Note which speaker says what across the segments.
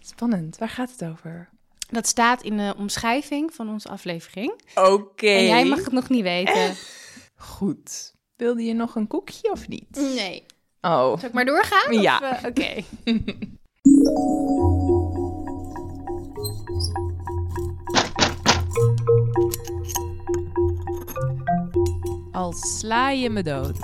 Speaker 1: Spannend. Waar gaat het over?
Speaker 2: Dat staat in de omschrijving van onze aflevering.
Speaker 1: Oké.
Speaker 2: En jij mag het nog niet weten.
Speaker 1: Goed. Wilde je nog een koekje of niet?
Speaker 2: Nee.
Speaker 1: Oh.
Speaker 2: Zal ik maar doorgaan? Of,
Speaker 1: Eh, Ja.
Speaker 2: eh, Oké.
Speaker 1: Al sla je me dood.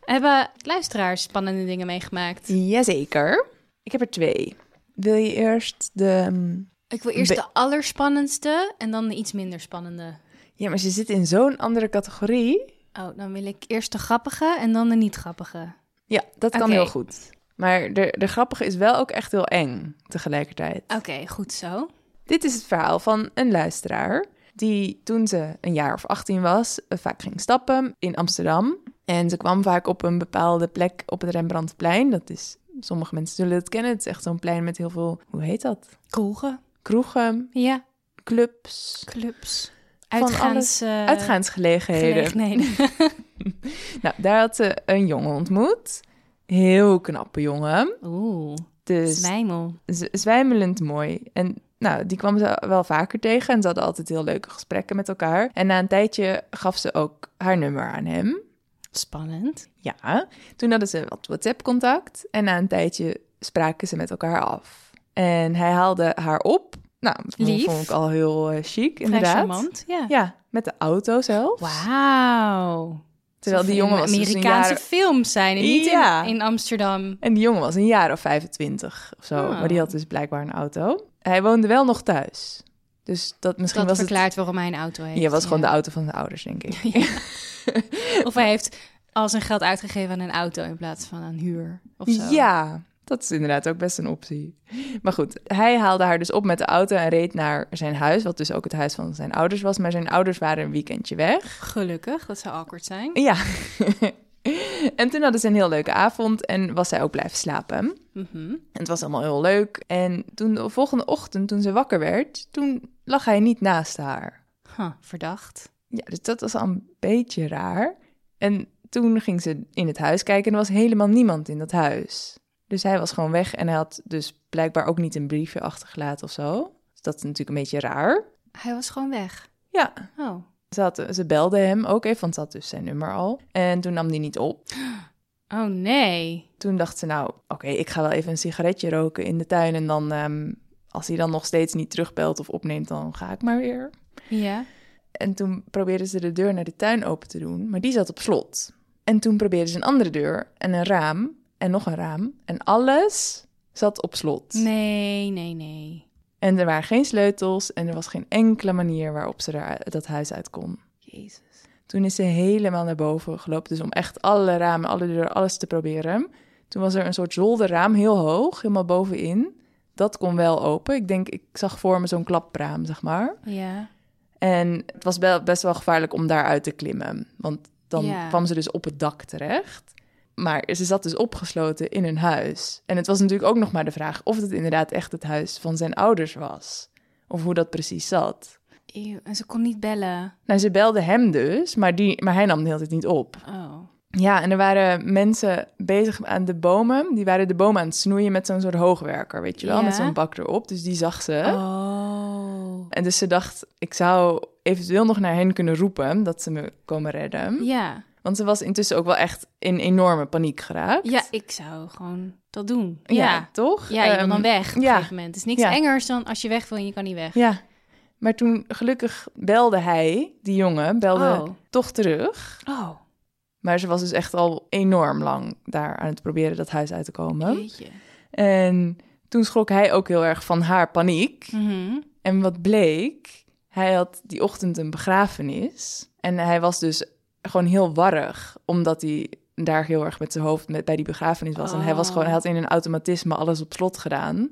Speaker 2: Hebben luisteraars spannende dingen meegemaakt?
Speaker 1: Jazeker. Ik heb er twee. Wil je eerst de... hm,
Speaker 2: Ik wil eerst
Speaker 1: Be-
Speaker 2: de allerspannendste en dan de iets minder spannende.
Speaker 1: Ja, maar ze zit in zo'n andere categorie.
Speaker 2: Oh, dan wil ik eerst de grappige en dan de niet grappige.
Speaker 1: Ja, dat kan
Speaker 2: Oké.
Speaker 1: heel goed. Maar de, de grappige is wel ook echt heel eng tegelijkertijd.
Speaker 2: Oké, goed zo.
Speaker 1: Dit is het verhaal van een luisteraar die toen ze een jaar of 18 was, eh, vaak ging stappen in Amsterdam. En ze kwam vaak op een bepaalde plek op het Rembrandtplein. Dat is, sommige mensen zullen het kennen. Het is echt zo'n plein met heel veel, hoe heet dat?
Speaker 2: Kroegen.
Speaker 1: Kroegen,
Speaker 2: Ja,
Speaker 1: clubs,
Speaker 2: clubs.
Speaker 1: Van
Speaker 2: Uitgaans. eh,
Speaker 1: uitgaansgelegenheden.
Speaker 2: gelegenheden.
Speaker 1: Nou, daar had ze een jongen ontmoet. Heel knappe jongen.
Speaker 2: Oeh,
Speaker 1: Dus
Speaker 2: zwijmel.
Speaker 1: z- zwijmelend mooi. En nou, die kwam ze wel vaker tegen en ze hadden altijd heel leuke gesprekken met elkaar. En na een tijdje gaf ze ook haar nummer aan hem.
Speaker 2: Spannend.
Speaker 1: Ja, toen hadden ze wat WhatsApp-contact en na een tijdje spraken ze met elkaar af. En hij haalde haar op. Nou, dat
Speaker 2: Lief.
Speaker 1: vond ik al heel eh, chic,
Speaker 2: Vrij
Speaker 1: inderdaad.
Speaker 2: charmant, ja.
Speaker 1: Ja, met de auto zelfs.
Speaker 2: Wauw.
Speaker 1: Terwijl die jongen was dus een
Speaker 2: Amerikaanse
Speaker 1: jaren-
Speaker 2: films zijn en niet in-
Speaker 1: Ja.
Speaker 2: in, Amsterdam.
Speaker 1: En die jongen was een jaar of 25 of zo.
Speaker 2: Oh.
Speaker 1: Maar die had dus blijkbaar een auto. Hij woonde wel nog thuis. Dus dat misschien
Speaker 2: dat
Speaker 1: was het...
Speaker 2: verklaart waarom hij een auto heeft.
Speaker 1: Ja, was gewoon
Speaker 2: ja.
Speaker 1: de auto van de ouders, denk ik.
Speaker 2: Of hij heeft al zijn geld uitgegeven aan een auto in plaats van aan huur of zo.
Speaker 1: Ja, dat is inderdaad ook best een optie. Maar goed, hij haalde haar dus op met de auto en reed naar zijn huis, wat dus ook het huis van zijn ouders was. Maar zijn ouders waren een weekendje weg.
Speaker 2: Gelukkig, dat zou awkward zijn.
Speaker 1: Ja. en toen hadden ze een heel leuke avond en was zij ook blijven slapen.
Speaker 2: Mhm.
Speaker 1: En het was allemaal heel leuk. En toen de volgende ochtend, toen ze wakker werd, toen lag hij niet naast haar.
Speaker 2: Huh, verdacht.
Speaker 1: Ja, dus dat was al een beetje raar. En toen ging ze in het huis kijken en er was helemaal niemand in dat huis. Dus hij was gewoon weg en hij had dus blijkbaar ook niet een briefje achtergelaten of zo. Dus dat is natuurlijk een beetje raar.
Speaker 2: Hij was gewoon weg.
Speaker 1: Ja,
Speaker 2: Oh,
Speaker 1: ze, had, ze belde hem ook even, want ze had dus zijn nummer al. En toen nam hij niet op.
Speaker 2: oh nee.
Speaker 1: Toen dacht ze nou, oké, ik ga wel even een sigaretje roken in de tuin. En dan, ehm, als hij dan nog steeds niet terugbelt of opneemt, dan ga ik maar weer.
Speaker 2: Ja.
Speaker 1: En toen probeerde ze de deur naar de tuin open te doen, maar die zat op slot. En toen probeerde ze een andere deur en een raam en nog een raam. En alles zat op slot.
Speaker 2: Nee, nee, nee.
Speaker 1: En er waren geen sleutels en er was geen enkele manier waarop ze daar, dat huis uit kon.
Speaker 2: Jezus.
Speaker 1: Toen is ze helemaal naar boven gelopen, dus om echt alle ramen, alle deuren, alles te proberen. Toen was er een soort zolderraam, heel hoog, helemaal bovenin. Dat kon wel open. Ik denk, ik zag voor me zo'n klapraam, zeg maar.
Speaker 2: Ja.
Speaker 1: En het was wel best wel gevaarlijk om daaruit te klimmen. Want dan
Speaker 2: Ja.
Speaker 1: kwam ze dus op het dak terecht. Maar ze zat dus opgesloten in een huis. En het was natuurlijk ook nog maar de vraag of het inderdaad echt het huis van zijn ouders was. Of hoe dat precies zat.
Speaker 2: Eeuw, en ze kon niet bellen.
Speaker 1: Nou, ze belde hem dus, maar, die, maar hij nam de hele tijd niet op.
Speaker 2: Oh.
Speaker 1: Ja, en er waren mensen bezig aan de bomen. Die waren de bomen aan het snoeien met zo'n soort hoogwerker, weet je wel?
Speaker 2: Ja.
Speaker 1: Met zo'n bak erop. Dus die zag ze.
Speaker 2: Oh.
Speaker 1: En dus ze dacht, ik zou eventueel nog naar hen kunnen roepen dat ze me komen redden.
Speaker 2: Ja.
Speaker 1: Want ze was intussen ook wel echt in enorme paniek geraakt.
Speaker 2: Ja, ik zou gewoon dat doen.
Speaker 1: Ja,
Speaker 2: Ja.
Speaker 1: toch?
Speaker 2: Ja, je wil
Speaker 1: Ehm,
Speaker 2: dan weg op een
Speaker 1: ja.
Speaker 2: gegeven moment. Het is niks
Speaker 1: Ja.
Speaker 2: engers dan als je weg wil en je kan niet weg.
Speaker 1: Ja. Maar toen gelukkig belde hij, die jongen, belde
Speaker 2: Oh.
Speaker 1: toch terug.
Speaker 2: Oh,
Speaker 1: Maar ze was dus echt al enorm lang daar aan het proberen dat huis uit te komen.
Speaker 2: jeetje.
Speaker 1: En toen schrok hij ook heel erg van haar paniek.
Speaker 2: Mhm.
Speaker 1: En wat bleek, hij had die ochtend een begrafenis. En hij was dus gewoon heel warrig, omdat hij daar heel erg met zijn hoofd met, bij die begrafenis was. En hij was
Speaker 2: Oh.
Speaker 1: gewoon, hij had in een automatisme alles op slot gedaan.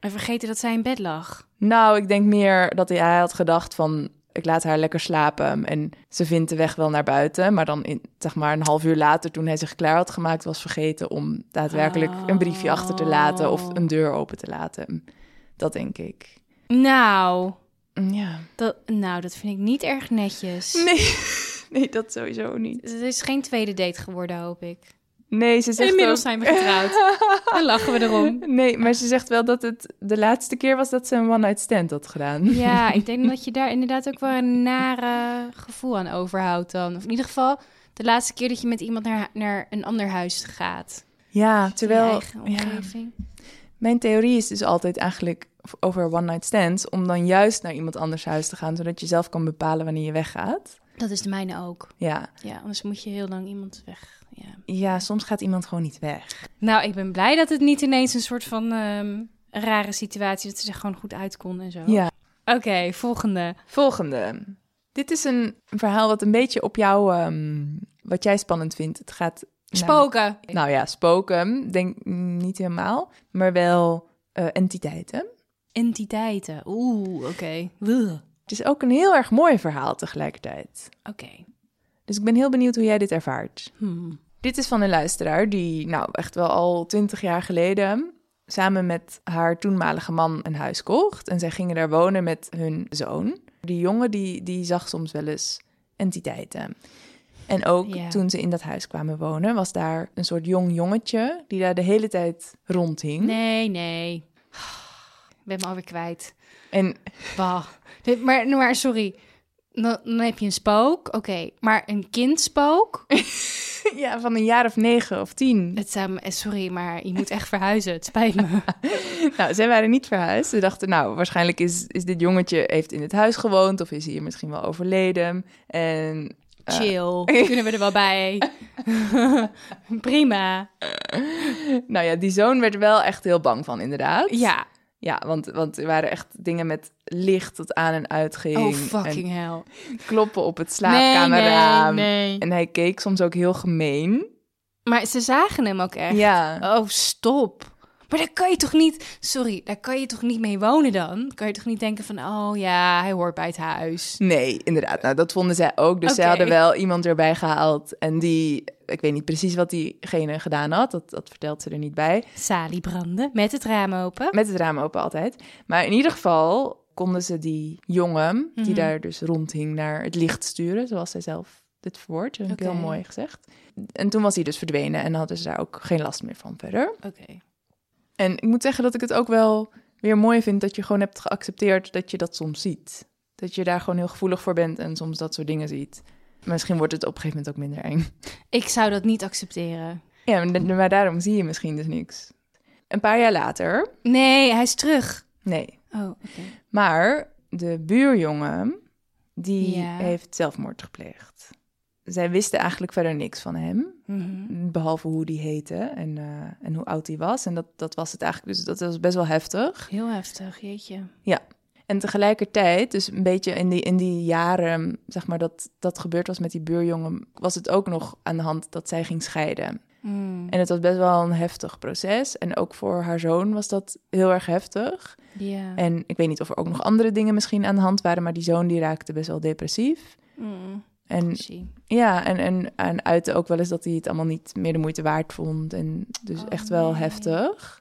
Speaker 2: En vergeten dat zij in bed lag.
Speaker 1: Nou, ik denk meer dat hij, hij had gedacht van, ik laat haar lekker slapen. En ze vindt de weg wel naar buiten. Maar dan, in, zeg maar, een half uur later, toen hij zich klaar had gemaakt, was vergeten om daadwerkelijk een briefje achter te laten of
Speaker 2: Oh.
Speaker 1: een deur open te laten. Dat denk ik.
Speaker 2: Nou,
Speaker 1: Ja.
Speaker 2: dat, nou, dat vind ik niet erg netjes.
Speaker 1: Nee, nee dat sowieso niet.
Speaker 2: Het is geen tweede date geworden, hoop ik.
Speaker 1: Nee, ze zegt
Speaker 2: Inmiddels
Speaker 1: ook-
Speaker 2: zijn we getrouwd. Dan lachen we erom.
Speaker 1: Nee, maar ze zegt wel dat het de laatste keer was dat ze een one-night stand had gedaan.
Speaker 2: Ja, ik denk dat je daar inderdaad ook wel een nare gevoel aan overhoudt dan. Of in ieder geval de laatste keer dat je met iemand naar, naar een ander huis gaat.
Speaker 1: Ja,
Speaker 2: Je
Speaker 1: terwijl
Speaker 2: eigen
Speaker 1: ja,
Speaker 2: omgeving.
Speaker 1: mijn theorie is dus altijd eigenlijk over one-night stands... om dan juist naar iemand anders huis te gaan... zodat je zelf kan bepalen wanneer je weggaat.
Speaker 2: Dat is de mijne ook.
Speaker 1: Ja,
Speaker 2: Ja, anders moet je heel lang iemand weg. Ja.
Speaker 1: ja soms gaat iemand gewoon niet weg.
Speaker 2: Nou, ik ben blij dat het niet ineens een soort van ehm, rare situatie... dat ze er gewoon goed uit kon en zo.
Speaker 1: Ja.
Speaker 2: Oké, volgende.
Speaker 1: Volgende. Dit is een verhaal wat een beetje op jou... ehm, wat jij spannend vindt. Het gaat... namelijk-
Speaker 2: Spoken.
Speaker 1: nou ja, spoken. Denk mm, niet helemaal. Maar wel eh, entiteiten.
Speaker 2: Entiteiten. Oeh, oké. Wuh. Oké.
Speaker 1: Het is ook een heel erg mooi verhaal tegelijkertijd. Dus ik ben heel benieuwd hoe jij dit ervaart.
Speaker 2: Hmm.
Speaker 1: Dit is van een luisteraar die, nou echt wel al twintig jaar geleden, samen met haar toenmalige man een huis kocht. En zij gingen daar wonen met hun zoon. Die jongen die, die zag soms wel eens entiteiten. En ook
Speaker 2: Ja.
Speaker 1: toen ze in dat huis kwamen wonen, was daar een soort jong jongetje die daar de hele tijd rondhing.
Speaker 2: Nee, nee. Ik ben me alweer kwijt.
Speaker 1: En
Speaker 2: Bah. Dit- Maar, maar sorry. Dan, dan heb je een spook. Oké, maar een kindspook?
Speaker 1: ja, van een jaar of negen of tien.
Speaker 2: Het zou me- eh, sorry, maar je moet echt verhuizen. Het spijt me.
Speaker 1: Nou, zij waren niet verhuisd. Ze dachten, nou, waarschijnlijk is, is dit jongetje heeft in het huis gewoond of is hier misschien wel overleden. En
Speaker 2: Chill. Kunnen we er wel bij? Prima.
Speaker 1: nou ja, die zoon werd er wel echt heel bang van, inderdaad.
Speaker 2: Ja.
Speaker 1: Ja, want, want er waren echt dingen met licht dat aan en uit ging.
Speaker 2: Oh, fucking hell.
Speaker 1: En kloppen op het
Speaker 2: Nee,
Speaker 1: slaapkamerraam.
Speaker 2: nee, nee.
Speaker 1: En hij keek soms ook heel gemeen.
Speaker 2: Maar ze zagen hem ook echt.
Speaker 1: Ja.
Speaker 2: Oh, stop. Maar daar kan je toch niet... Sorry, daar kan je toch niet mee wonen dan? Kan je toch niet denken van... Oh ja, hij hoort bij het huis.
Speaker 1: Nee, inderdaad. Nou, dat vonden zij ook. Dus zij
Speaker 2: Oké.
Speaker 1: hadden wel iemand erbij gehaald. En die, ik weet niet precies wat diegene gedaan had. Dat, dat vertelt ze er niet bij.
Speaker 2: Salie branden met het raam open.
Speaker 1: Met het raam open altijd. Maar in ieder geval konden ze die jongen, die daar dus rondhing, naar het licht sturen, zoals zij zelf dit verwoordt. Dat heb ik
Speaker 2: Oké.
Speaker 1: heel mooi gezegd. En toen was hij dus verdwenen en hadden ze daar ook geen last meer van verder.
Speaker 2: Oké.
Speaker 1: En ik moet zeggen dat ik het ook wel weer mooi vind dat je gewoon hebt geaccepteerd dat je dat soms ziet. Dat je daar gewoon heel gevoelig voor bent en soms dat soort dingen ziet. Misschien wordt het op een gegeven moment ook minder eng.
Speaker 2: Ik zou dat niet accepteren.
Speaker 1: Ja, maar, maar daarom zie je misschien dus niks. Een paar jaar later,
Speaker 2: Nee, hij is terug.
Speaker 1: nee,
Speaker 2: Oh, oké.
Speaker 1: Maar de buurjongen, die
Speaker 2: Ja.
Speaker 1: heeft zelfmoord gepleegd. Zij wisten eigenlijk verder niks van hem,
Speaker 2: Mhm.
Speaker 1: behalve hoe die heette en, eh, en hoe oud hij was. En dat, dat was het eigenlijk, dus dat was best wel heftig.
Speaker 2: Heel heftig, jeetje.
Speaker 1: En tegelijkertijd, dus een beetje in die, in die jaren, zeg maar, dat dat gebeurd was met die buurjongen, was het ook nog aan de hand dat zij ging scheiden.
Speaker 2: Mm.
Speaker 1: En het was best wel een heftig proces. En ook voor haar zoon was dat heel erg heftig.
Speaker 2: Ja.
Speaker 1: En ik weet niet of er ook nog andere dingen misschien aan de hand waren, maar die zoon die raakte best wel depressief.
Speaker 2: Mm.
Speaker 1: En
Speaker 2: Zie.
Speaker 1: ja, en, en, en uitte ook wel eens dat hij het allemaal niet meer de moeite waard vond. En dus
Speaker 2: Oh,
Speaker 1: echt wel
Speaker 2: nee.
Speaker 1: heftig.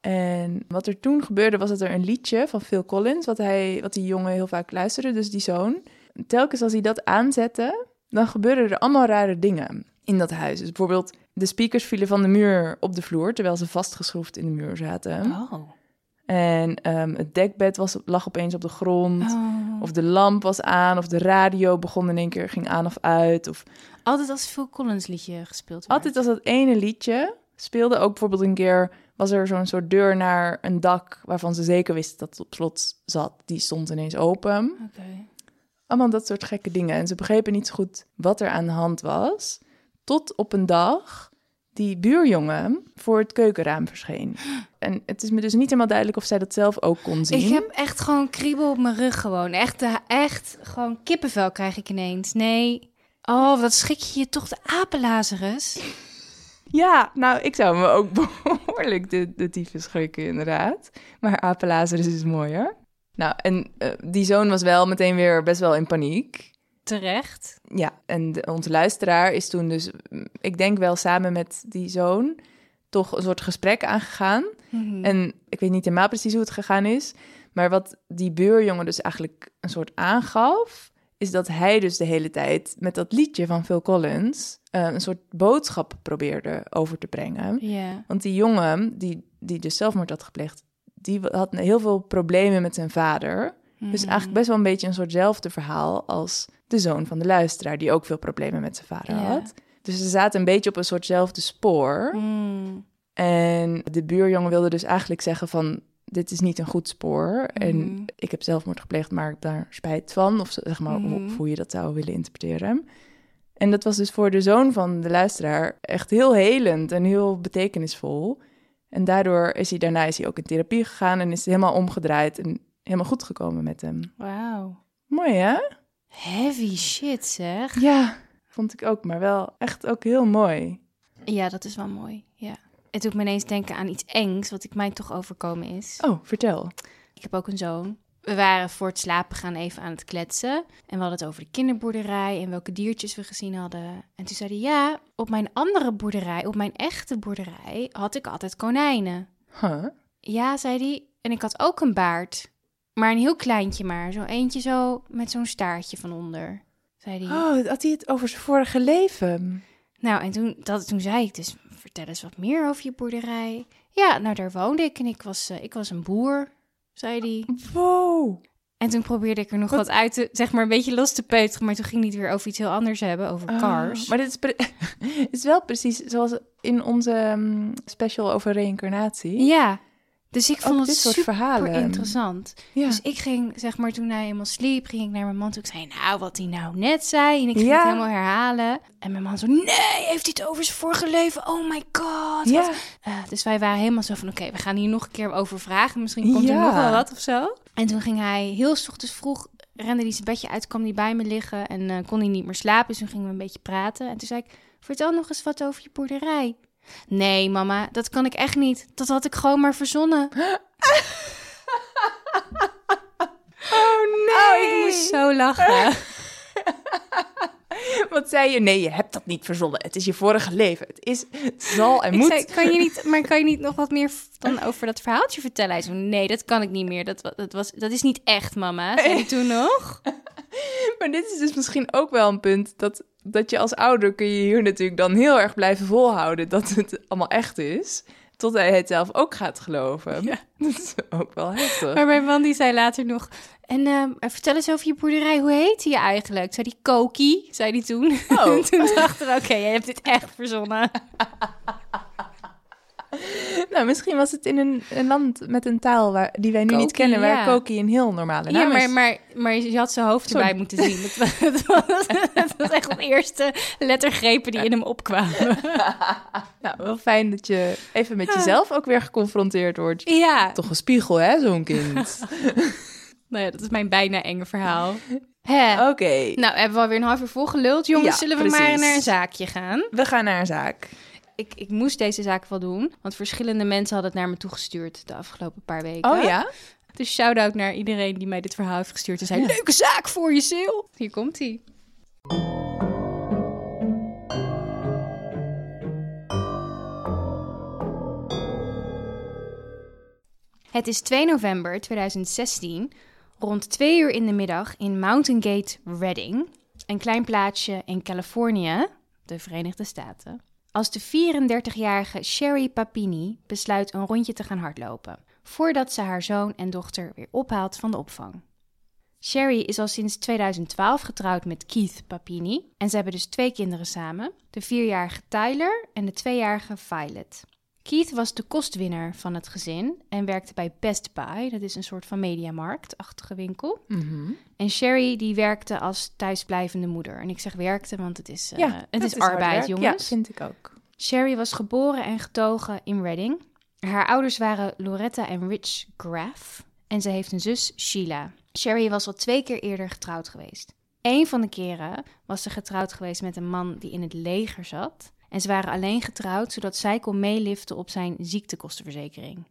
Speaker 1: En wat er toen gebeurde, was dat er een liedje van Phil Collins, wat, hij, wat die jongen heel vaak luisterde, dus die zoon. Telkens als hij dat aanzette, dan gebeurden er allemaal rare dingen in dat huis. Dus bijvoorbeeld, de speakers vielen van de muur op de vloer, terwijl ze vastgeschroefd in de muur zaten.
Speaker 2: Oh.
Speaker 1: En ehm, het dekbed was, lag opeens op de grond.
Speaker 2: Oh.
Speaker 1: Of de lamp was aan, of de radio begon in één keer, ging aan of uit. Of...
Speaker 2: Altijd als Phil Collins liedje gespeeld werd.
Speaker 1: Altijd als dat ene liedje speelde, ook bijvoorbeeld een keer was er zo'n soort deur naar een dak... waarvan ze zeker wisten dat het op slot zat. Die stond ineens open.
Speaker 2: Oké.
Speaker 1: Allemaal dat soort gekke dingen. En ze begrepen niet zo goed wat er aan de hand was. Tot op een dag die buurjongen voor het keukenraam verscheen. En het is me dus niet helemaal duidelijk of zij dat zelf ook kon zien.
Speaker 2: Ik heb echt gewoon kriebel op mijn rug gewoon. Echt, de- echt gewoon kippenvel krijg ik ineens. Nee. Oh, wat schrik je je toch de apelazerus.
Speaker 1: Ja, nou, ik zou me ook behoorlijk de, de tyfus schrikken, inderdaad. Maar Apelazerus is mooier. Nou, en eh, die zoon was wel meteen weer best wel in paniek.
Speaker 2: Terecht.
Speaker 1: Ja, en de- onze luisteraar is toen dus, mm, ik denk wel samen met die zoon, toch een soort gesprek aangegaan.
Speaker 2: Mhm.
Speaker 1: En ik weet niet helemaal precies hoe het gegaan is. Maar wat die buurjongen dus eigenlijk een soort aangaf, is dat hij dus de hele tijd met dat liedje van Phil Collins eh, een soort boodschap probeerde over te brengen.
Speaker 2: Ja.
Speaker 1: Want die jongen, die, die dus zelfmoord had gepleegd, die had heel veel problemen met zijn vader. Dus
Speaker 2: Mhm.
Speaker 1: eigenlijk best wel een beetje een soortzelfde verhaal als de zoon van de luisteraar, die ook veel problemen met zijn vader
Speaker 2: Ja.
Speaker 1: had. Dus ze zaten een beetje op een soortzelfde spoor.
Speaker 2: Mm.
Speaker 1: En de buurjongen wilde dus eigenlijk zeggen van, dit is niet een goed spoor.
Speaker 2: Mhm.
Speaker 1: En ik heb zelfmoord gepleegd, maar ik heb daar spijt van. Of zeg maar,
Speaker 2: Mhm.
Speaker 1: of hoe je dat zou willen interpreteren. En dat was dus voor de zoon van de luisteraar echt heel helend en heel betekenisvol. En daardoor is hij daarna is hij ook in therapie gegaan en is het helemaal omgedraaid en helemaal goed gekomen met hem.
Speaker 2: Wauw.
Speaker 1: Mooi hè?
Speaker 2: Heavy shit, zeg.
Speaker 1: Ja, vond ik ook, maar wel echt ook heel mooi.
Speaker 2: Ja, dat is wel mooi. Ja. Het doet me ineens denken aan iets engs, wat ik mij toch overkomen is.
Speaker 1: Oh, vertel.
Speaker 2: Ik heb ook een zoon. We waren voor het slapen gaan even aan het kletsen. En we hadden het over de kinderboerderij en welke diertjes we gezien hadden. En toen zei hij, ja, op mijn andere boerderij, op mijn echte boerderij, had ik altijd konijnen.
Speaker 1: Huh?
Speaker 2: Ja, zei hij, en ik had ook een baard. Maar een heel kleintje maar, zo eentje zo met zo'n staartje van onder. Zei hij.
Speaker 1: Oh, had hij het over zijn vorige leven?
Speaker 2: Nou, en toen, dat, toen zei ik dus, vertel eens wat meer over je boerderij. Ja, nou daar woonde ik en ik was, eh, ik was een boer, zei hij.
Speaker 1: Wow.
Speaker 2: En toen probeerde ik er nog wat,
Speaker 1: Wat?
Speaker 2: uit te, zeg maar een beetje los te peuteren, maar toen ging hij het weer over iets heel anders hebben, over cars.
Speaker 1: Oh, maar dit is, pre- is wel precies zoals in onze ehm, special over reïncarnatie.
Speaker 2: Ja, dus ik vond
Speaker 1: Ook
Speaker 2: het
Speaker 1: Oh, dit soort
Speaker 2: super
Speaker 1: verhalen.
Speaker 2: interessant.
Speaker 1: Ja.
Speaker 2: Dus ik ging, zeg maar, toen hij helemaal sliep, ging ik naar mijn man toe. Ik zei, nou, wat hij nou net zei. En ik ging
Speaker 1: Ja.
Speaker 2: het helemaal herhalen. En mijn man zo, nee, heeft hij het over zijn vorige leven? Oh my god.
Speaker 1: ja.
Speaker 2: wat- Eh, dus wij waren helemaal zo van, oké, we gaan hier nog een keer over vragen. Misschien komt er
Speaker 1: Ja.
Speaker 2: nog wel wat of zo. En toen ging hij heel 's ochtends vroeg, rende hij zijn bedje uit, kwam hij bij me liggen. En eh, kon hij niet meer slapen, dus toen gingen we een beetje praten. En toen zei ik, vertel nog eens wat over je boerderij. Nee, mama, dat kan ik echt niet. Dat had ik gewoon maar verzonnen.
Speaker 1: Oh
Speaker 2: Oh, ik moest zo lachen.
Speaker 1: Wat zei je? Nee, je hebt dat niet verzonnen. Het is je vorige leven. Het is, het zal en
Speaker 2: Ik
Speaker 1: moet.
Speaker 2: zei, kan je niet, maar kan je niet nog wat meer v- dan over dat verhaaltje vertellen? Hij zei, nee, dat kan ik niet meer. Dat, wa- dat, was, dat is niet echt, mama. Zei hij toen nog?
Speaker 1: Maar dit is dus misschien ook wel een punt dat, dat je als ouder kun je hier natuurlijk dan heel erg blijven volhouden dat het allemaal echt is. Tot hij het zelf ook gaat geloven. Ja. Dat is ook wel heftig.
Speaker 2: Maar mijn man die zei later nog... En ehm, vertel eens over je boerderij. Hoe heet je eigenlijk? Zei die Koki, zei hij toen.
Speaker 1: Oh.
Speaker 2: En toen dachten we, oké, jij hebt dit echt verzonnen.
Speaker 1: Nou, misschien was het in een, een land met een taal waar, die wij nu niet
Speaker 2: Koki,
Speaker 1: kennen, waar
Speaker 2: ja.
Speaker 1: Koki een heel normale naam
Speaker 2: Ja,
Speaker 1: is.
Speaker 2: maar, maar, maar je had zijn hoofd erbij
Speaker 1: Sorry.
Speaker 2: moeten zien. Dat was, dat was- dat was echt de eerste lettergrepen die in hem opkwamen.
Speaker 1: Nou, wel fijn dat je even met jezelf ook weer geconfronteerd wordt.
Speaker 2: Ja,
Speaker 1: Toch een spiegel, hè, zo'n kind.
Speaker 2: nou ja, dat is mijn bijna enge verhaal. Hè.
Speaker 1: Oké,
Speaker 2: Nou, hebben we alweer een half uur volgeluld. Jongens,
Speaker 1: Ja,
Speaker 2: zullen we
Speaker 1: precies.
Speaker 2: maar naar een zaakje gaan?
Speaker 1: we gaan naar een zaak.
Speaker 2: Ik, ik moest deze zaak wel doen, want verschillende mensen hadden het naar me toegestuurd de afgelopen paar weken.
Speaker 1: Oh ja?
Speaker 2: Dus shout-out naar iedereen die mij dit verhaal heeft gestuurd en zei, leuke zaak voor je, ziel. Hier komt hij. Het is 2 november 2016, rond 2 uur in de middag in Mountain Gate, Redding, een klein plaatsje in Californië, de Verenigde Staten. Als de 34-jarige Sherry Papini besluit een rondje te gaan hardlopen, voordat ze haar zoon en dochter weer ophaalt van de opvang. Sherry is al sinds 2012 getrouwd met Keith Papini en ze hebben dus twee kinderen samen, de vierjarige Tyler en de tweejarige Violet. Keith was de kostwinner van het gezin en werkte bij Best Buy, dat is een soort van mediamarktachtige winkel.
Speaker 1: Mhm.
Speaker 2: En Sherry die werkte als thuisblijvende moeder. En ik zeg werkte, want het is, eh, het
Speaker 1: dat
Speaker 2: is,
Speaker 1: hard
Speaker 2: arbeid,
Speaker 1: werk.
Speaker 2: jongens.
Speaker 1: Ja, vind ik ook.
Speaker 2: Sherry was geboren en getogen in Reading. Haar ouders waren Loretta en Rich Graff. En ze heeft een zus, Sheila. Sherry was al twee keer eerder getrouwd geweest. Eén van de keren was ze getrouwd geweest met een man die in het leger zat. En ze waren alleen getrouwd zodat zij kon meeliften op zijn ziektekostenverzekering.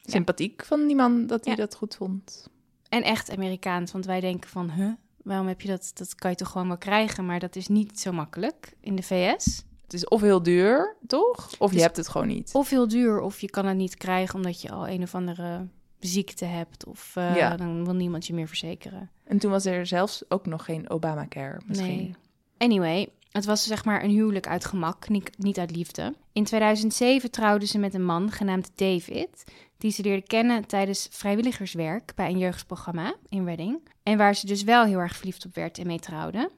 Speaker 1: Sympathiek van die man dat hij
Speaker 2: Ja.
Speaker 1: dat goed vond.
Speaker 2: En echt Amerikaans, want wij denken van, huh, waarom heb je dat? Dat kan je toch gewoon wel krijgen, maar dat is niet zo makkelijk in de VS.
Speaker 1: Het is of heel duur, toch? Of je
Speaker 2: Dus-
Speaker 1: hebt het gewoon niet.
Speaker 2: Of heel duur, of je kan het niet krijgen omdat je al een of andere ziekte hebt. Of eh,
Speaker 1: Ja.
Speaker 2: dan wil niemand je meer verzekeren.
Speaker 1: En toen was er zelfs ook nog geen Obamacare misschien.
Speaker 2: Nee. Anyway, het was zeg maar een huwelijk uit gemak, ni- niet uit liefde. In 2007 trouwde ze met een man genaamd David, die ze leerde kennen tijdens vrijwilligerswerk bij een jeugdprogramma in Reading. En waar ze dus wel heel erg verliefd op werd en mee trouwde.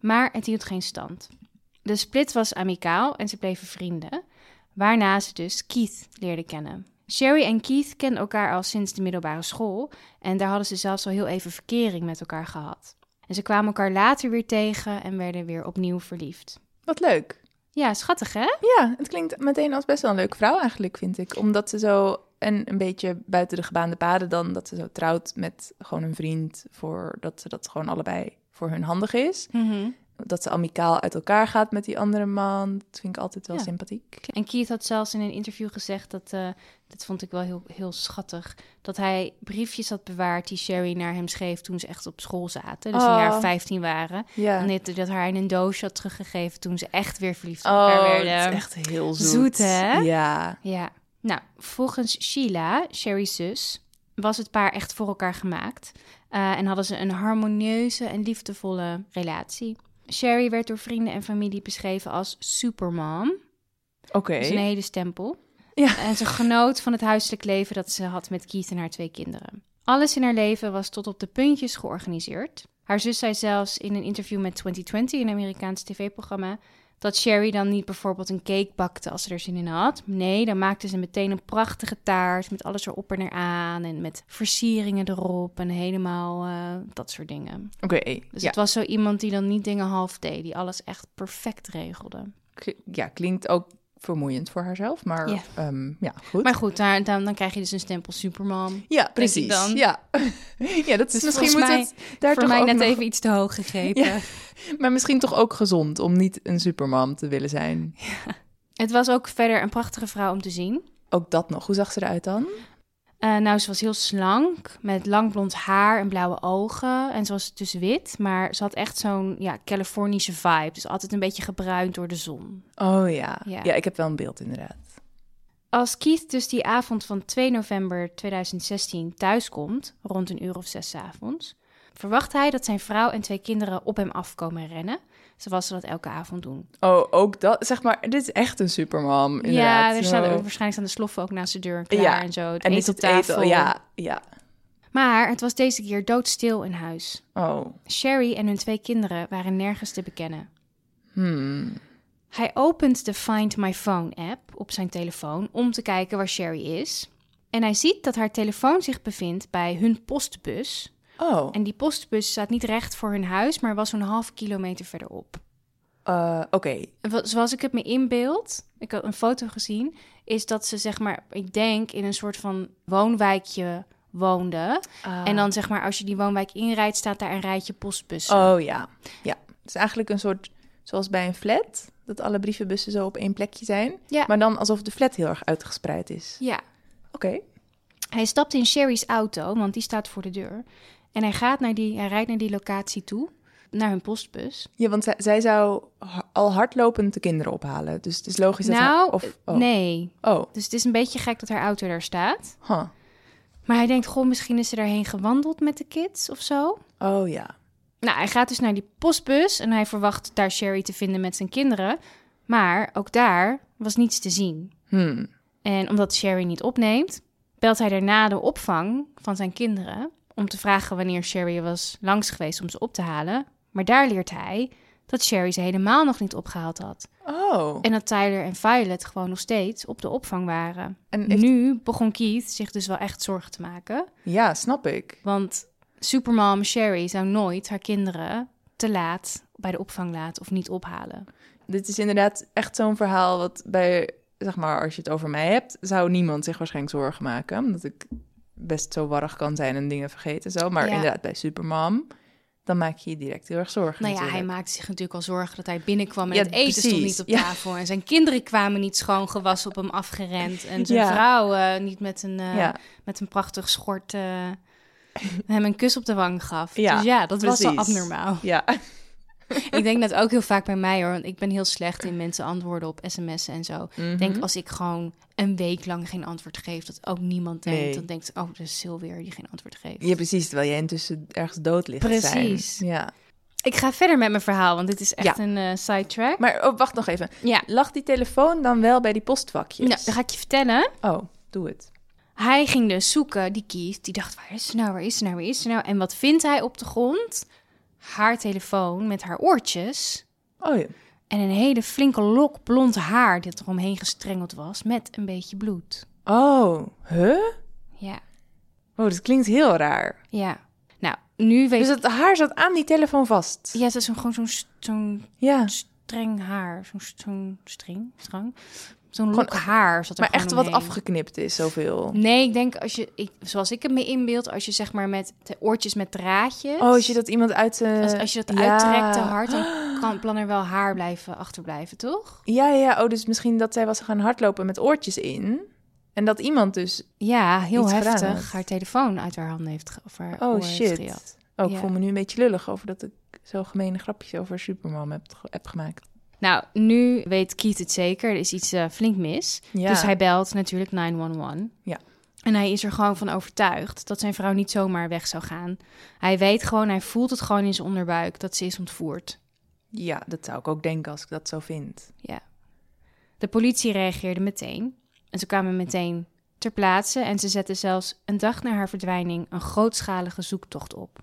Speaker 2: Maar het hield geen stand. De split was amicaal en ze bleven vrienden, waarna ze dus Keith leerde kennen. Sherry en Keith kenden elkaar al sinds de middelbare school en daar hadden ze zelfs al heel even verkering met elkaar gehad. En ze kwamen elkaar later weer tegen en werden weer opnieuw verliefd.
Speaker 1: Wat leuk.
Speaker 2: Ja, schattig hè?
Speaker 1: Ja, het klinkt meteen als best wel een leuke vrouw eigenlijk, vind ik. Omdat ze zo en een beetje buiten de gebaande paden dan, dat ze zo trouwt met gewoon een vriend, voordat ze dat gewoon allebei voor hun handig is. Dat ze amicaal uit elkaar gaat met die andere man, dat vind ik altijd wel
Speaker 2: Ja.
Speaker 1: sympathiek.
Speaker 2: En Keith had zelfs in een interview gezegd dat, eh, dat vond ik wel heel, heel schattig, dat hij briefjes had bewaard die Sherry naar hem schreef toen ze echt op school zaten, dus een
Speaker 1: Oh.
Speaker 2: jaar 15 waren.
Speaker 1: Ja.
Speaker 2: En dit, dat haar in een doosje had teruggegeven toen ze echt weer verliefd op elkaar
Speaker 1: Oh, het
Speaker 2: werden.
Speaker 1: is echt heel zoet.
Speaker 2: eh, Zoet, hè?
Speaker 1: Ja.
Speaker 2: Ja. Nou, volgens Sheila, Sherry's zus, was het paar echt voor elkaar gemaakt. eh, en hadden ze een harmonieuze en liefdevolle relatie. Sherry werd door vrienden en familie beschreven als supermom.
Speaker 1: Oké.
Speaker 2: Dus een hele stempel.
Speaker 1: Ja.
Speaker 2: En ze genoot van het huiselijk leven dat ze had met Keith en haar twee kinderen. Alles in haar leven was tot op de puntjes georganiseerd. Haar zus zei zelfs in een interview met 2020, een Amerikaans tv-programma, dat Sherry dan niet bijvoorbeeld een cake bakte als ze er zin in had. Nee, dan maakte ze meteen een prachtige taart met alles erop en eraan en met versieringen erop en helemaal eh, dat soort dingen.
Speaker 1: Oké. eh,
Speaker 2: Dus
Speaker 1: Ja.
Speaker 2: het was zo iemand die dan niet dingen half deed, die alles echt perfect regelde.
Speaker 1: K- ja, klinkt ook vermoeiend voor haarzelf, maar
Speaker 2: Ja.
Speaker 1: ja, ja goed.
Speaker 2: Maar goed, daar, dan, dan krijg je dus een stempel superman.
Speaker 1: ja,
Speaker 2: ik
Speaker 1: precies.
Speaker 2: dan.
Speaker 1: Ja. ja, dat is
Speaker 2: Dus
Speaker 1: misschien moet
Speaker 2: volgens mij
Speaker 1: het daar
Speaker 2: Voor
Speaker 1: toch
Speaker 2: mij
Speaker 1: ook
Speaker 2: net
Speaker 1: nog-
Speaker 2: even iets te hoog gegrepen.
Speaker 1: Ja. Maar misschien toch ook gezond om niet een supermom te willen zijn.
Speaker 2: Het was ook verder een prachtige vrouw om te zien.
Speaker 1: Ook dat nog. Hoe zag ze eruit dan?
Speaker 2: Eh, nou, ze was heel slank, met lang blond haar en blauwe ogen. En ze was dus wit, maar ze had echt zo'n ja, Californische vibe. Dus altijd een beetje gebruind door de zon.
Speaker 1: Oh ja.
Speaker 2: Ja.
Speaker 1: ja. ik heb wel een beeld inderdaad.
Speaker 2: Als Keith dus die avond van 2 november 2016 thuiskomt, rond een uur of zes 's avonds, verwacht hij dat zijn vrouw en twee kinderen op hem afkomen rennen, zoals ze dat elke avond doen.
Speaker 1: Oh, ook dat. Zeg maar, dit is echt een supermom inderdaad.
Speaker 2: Ja, er
Speaker 1: Zo.
Speaker 2: staan waarschijnlijk staan de sloffen ook naast de deur klaar
Speaker 1: Ja,
Speaker 2: en zo. Het
Speaker 1: En
Speaker 2: eten
Speaker 1: niet
Speaker 2: op
Speaker 1: het eten.
Speaker 2: tafel.
Speaker 1: Ja, ja.
Speaker 2: Maar het was deze keer doodstil in huis.
Speaker 1: Oh.
Speaker 2: Sherry en hun twee kinderen waren nergens te bekennen.
Speaker 1: Hmm.
Speaker 2: Hij opent de Find My Phone app op zijn telefoon om te kijken waar Sherry is. En hij ziet dat haar telefoon zich bevindt bij hun postbus.
Speaker 1: Oh.
Speaker 2: En die postbus staat niet recht voor hun huis, maar was zo'n half kilometer verderop.
Speaker 1: Eh, Oké.
Speaker 2: En wat- Zoals ik het me inbeeld, ik had een foto gezien, is dat ze zeg maar, ik denk in een soort van woonwijkje woonde.
Speaker 1: Ah.
Speaker 2: En dan zeg maar, als je die woonwijk inrijdt, staat daar een rijtje postbussen.
Speaker 1: Oh ja, ja. Het is eigenlijk een soort, zoals bij een flat, dat alle brievenbussen zo op één plekje zijn.
Speaker 2: Ja.
Speaker 1: Maar dan alsof de flat heel erg uitgespreid is.
Speaker 2: Ja.
Speaker 1: Oké.
Speaker 2: Hij stapt in Sherry's auto, want die staat voor de deur. En hij, gaat naar die, hij rijdt naar die locatie toe, naar hun postbus.
Speaker 1: Ja, want zij, zij zou ha- al hardlopend de kinderen ophalen. Dus het is logisch
Speaker 2: nou,
Speaker 1: dat... hij- Of, oh.
Speaker 2: nee.
Speaker 1: Oh,
Speaker 2: Dus het is een beetje gek dat haar auto daar staat.
Speaker 1: huh.
Speaker 2: Maar hij denkt, goh, misschien is ze daarheen gewandeld met de kids of zo.
Speaker 1: oh ja.
Speaker 2: Nou, hij gaat dus naar die postbus en hij verwacht daar Sherry te vinden met zijn kinderen. Maar ook daar was niets te zien.
Speaker 1: Hmm.
Speaker 2: En omdat Sherry niet opneemt, belt hij daarna de opvang van zijn kinderen om te vragen wanneer Sherry was langs geweest om ze op te halen. Maar daar leert hij dat Sherry ze helemaal nog niet opgehaald had.
Speaker 1: Oh.
Speaker 2: En dat Tyler en Violet gewoon nog steeds op de opvang waren.
Speaker 1: En heeft-
Speaker 2: Nu begon Keith zich dus wel echt zorgen te maken.
Speaker 1: Ja, snap ik.
Speaker 2: Want supermom Sherry zou nooit haar kinderen te laat bij de opvang laten of niet ophalen.
Speaker 1: Dit is inderdaad echt zo'n verhaal wat bij... Zeg maar, als je het over mij hebt, zou niemand zich waarschijnlijk zorgen maken. Omdat ik best zo warrig kan zijn en dingen vergeten en zo. Maar
Speaker 2: Ja.
Speaker 1: inderdaad, bij Supermom, dan maak je je direct heel erg zorgen
Speaker 2: Nou ja, hij
Speaker 1: natuurlijk.
Speaker 2: maakte zich natuurlijk al zorgen dat hij binnenkwam en
Speaker 1: Ja,
Speaker 2: het eten stond
Speaker 1: precies.
Speaker 2: niet op
Speaker 1: Ja.
Speaker 2: tafel. En zijn kinderen kwamen niet schoon gewassen op hem afgerend. En zijn
Speaker 1: Ja.
Speaker 2: vrouw eh, niet met een, eh,
Speaker 1: Ja,
Speaker 2: met een prachtig schort eh, hem een kus op de wang gaf.
Speaker 1: Ja,
Speaker 2: dus ja, dat was
Speaker 1: precies.
Speaker 2: al abnormaal.
Speaker 1: ja.
Speaker 2: ik denk dat ook heel vaak bij mij hoor. Want ik ben heel slecht in mensen antwoorden op sms'en en zo. Ik
Speaker 1: Mhm.
Speaker 2: denk als ik gewoon een week lang geen antwoord geef, dat ook niemand denkt.
Speaker 1: Nee.
Speaker 2: Dan denkt, oh, dat is Silweer die geen antwoord geeft.
Speaker 1: Ja, precies. Terwijl jij intussen ergens dood ligt te
Speaker 2: Precies.
Speaker 1: zijn. Ja.
Speaker 2: Ik ga verder met mijn verhaal, want dit is echt een eh, sidetrack.
Speaker 1: Maar oh, wacht nog even.
Speaker 2: Ja.
Speaker 1: Lag die telefoon dan wel bij die postvakjes?
Speaker 2: Nou, dan ga ik je vertellen.
Speaker 1: Oh, doe het.
Speaker 2: Hij ging dus zoeken, die Keith. Die dacht, waar is ze nou, waar is ze nou, waar is ze nou? En wat vindt hij op de grond? Haar telefoon met haar oortjes.
Speaker 1: Oh ja.
Speaker 2: En een hele flinke lok blond haar dat er omheen gestrengeld was met een beetje bloed.
Speaker 1: Oh, huh?
Speaker 2: Ja,
Speaker 1: Oh, dat klinkt heel raar.
Speaker 2: ja. Nou, nu weet
Speaker 1: Dus dat haar zat aan die telefoon vast.
Speaker 2: Ja, het is zo'n- gewoon zo'n st- zo'n
Speaker 1: Ja.
Speaker 2: streng haar. Zo'n st- zo'n string, strang. Zo'n
Speaker 1: Gewoon- eh,
Speaker 2: lok haar zat er
Speaker 1: Maar
Speaker 2: gewoon
Speaker 1: echt wat
Speaker 2: omheen.
Speaker 1: afgeknipt is, zoveel.
Speaker 2: Nee, ik denk als je, ik, zoals ik het me inbeeld, als je zeg maar met de oortjes met draadjes.
Speaker 1: Oh, als je dat iemand uit de...
Speaker 2: als, als je dat
Speaker 1: Ja.
Speaker 2: uittrekt te hard, dan kan plan er wel haar blijven achterblijven, toch?
Speaker 1: Ja, ja, ja. Oh, dus misschien dat zij was gaan hardlopen met oortjes in. En dat iemand dus...
Speaker 2: Ja, heel
Speaker 1: Iets gedaan
Speaker 2: heftig.
Speaker 1: heeft.
Speaker 2: Haar telefoon uit haar handen heeft ge- of haar
Speaker 1: Oh,
Speaker 2: oor Heeft gejat.
Speaker 1: shit. Oh, ik
Speaker 2: Ja.
Speaker 1: voel me nu een beetje lullig over dat ik zo gemene grapjes over Superman heb, ge- heb gemaakt.
Speaker 2: nou, nu weet Keith het zeker. Er is iets eh, flink mis.
Speaker 1: Ja.
Speaker 2: Dus hij belt natuurlijk 911.
Speaker 1: Ja.
Speaker 2: En hij is er gewoon van overtuigd dat zijn vrouw niet zomaar weg zou gaan. Hij weet gewoon, hij voelt het gewoon in zijn onderbuik dat ze is ontvoerd.
Speaker 1: Ja, dat zou ik ook denken als ik dat zo vind.
Speaker 2: Ja. De politie reageerde meteen. En ze kwamen meteen ter plaatse en ze zetten zelfs een dag na haar verdwijning een grootschalige zoektocht op.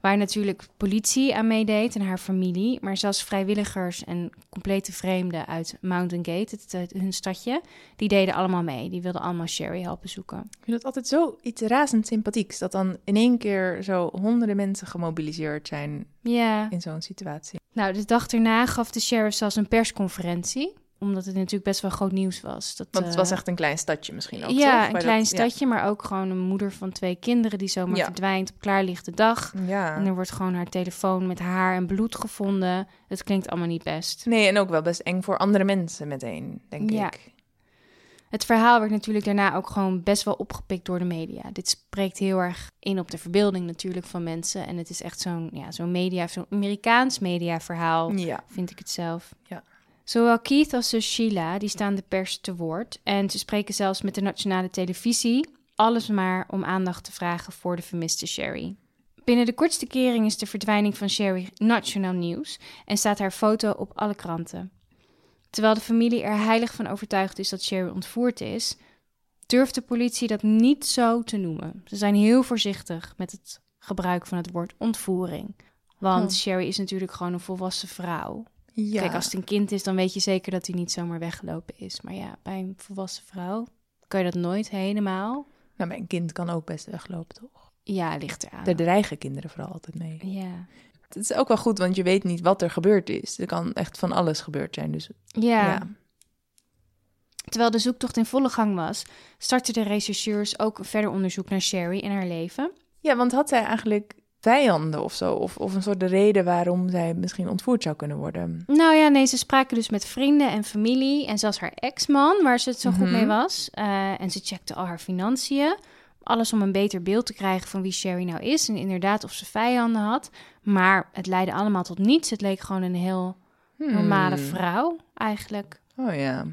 Speaker 2: Waar natuurlijk politie aan meedeed en haar familie, maar zelfs vrijwilligers en complete vreemden uit Mountain Gate, het, het- hun stadje, die deden allemaal mee. Die wilden allemaal Sherry helpen zoeken.
Speaker 1: Ik vind dat altijd zo iets razend sympathieks. Dat dan in één keer zo honderden mensen gemobiliseerd zijn
Speaker 2: Ja.
Speaker 1: in zo'n situatie.
Speaker 2: Nou, de dag daarna gaf de sheriff zelfs een persconferentie, omdat het natuurlijk best wel groot nieuws was. Dat,
Speaker 1: Want het
Speaker 2: eh,
Speaker 1: was echt een klein stadje misschien ook, toch?
Speaker 2: Ja,
Speaker 1: Waar
Speaker 2: een
Speaker 1: dat-
Speaker 2: klein stadje, maar ook gewoon een moeder van twee kinderen die zomaar
Speaker 1: Ja.
Speaker 2: verdwijnt op klaarlichte dag.
Speaker 1: Ja.
Speaker 2: En er wordt gewoon haar telefoon met haar en bloed gevonden. Het klinkt allemaal niet best.
Speaker 1: Nee, en ook wel best eng voor andere mensen meteen, denk
Speaker 2: Ja.
Speaker 1: ik.
Speaker 2: Het verhaal werd natuurlijk daarna ook gewoon best wel opgepikt door de media. Dit spreekt heel erg in op de verbeelding natuurlijk van mensen. En het is echt zo'n ja, zo'n media, zo'n Amerikaans mediaverhaal.
Speaker 1: Ja.
Speaker 2: vind ik het zelf.
Speaker 1: Ja.
Speaker 2: Zowel Keith als zus Sheila, die staan de pers te woord. En ze spreken zelfs met de nationale televisie. Alles maar om aandacht te vragen voor de vermiste Sherry. Binnen de kortste kering is de verdwijning van Sherry nationaal nieuws en staat haar foto op alle kranten. Terwijl de familie er heilig van overtuigd is dat Sherry ontvoerd is, durft de politie dat niet zo te noemen. Ze zijn heel voorzichtig met het gebruik van het woord ontvoering. Want
Speaker 1: Hm.
Speaker 2: Sherry is natuurlijk gewoon een volwassen vrouw.
Speaker 1: ja.
Speaker 2: Kijk, als het een kind is, dan weet je zeker dat hij niet zomaar weggelopen is. Maar ja, bij een volwassen vrouw kan je dat nooit helemaal.
Speaker 1: Nou, mijn kind kan ook best weglopen, toch?
Speaker 2: Ja, ligt eraan.
Speaker 1: Daar dreigen kinderen vooral altijd mee.
Speaker 2: Ja.
Speaker 1: Het is ook wel goed, want je weet niet wat er gebeurd is. Er kan echt van alles gebeurd zijn. Dus
Speaker 2: ja.
Speaker 1: ja.
Speaker 2: Terwijl de zoektocht in volle gang was, startten de rechercheurs ook een verder onderzoek naar Sherry en haar leven.
Speaker 1: Ja, want had zij eigenlijk vijanden of zo? Of, of een soort reden waarom zij misschien ontvoerd zou kunnen worden?
Speaker 2: Nou ja, nee, ze spraken dus met vrienden en familie en zelfs haar ex-man, waar ze het zo goed
Speaker 1: Mhm.
Speaker 2: mee was. Eh, en ze checkte al haar financiën. Alles om een beter beeld te krijgen van wie Sherry nou is en inderdaad of ze vijanden had. Maar het leidde allemaal tot niets. Het leek gewoon een heel
Speaker 1: Hmm.
Speaker 2: normale vrouw eigenlijk.
Speaker 1: Oh ja.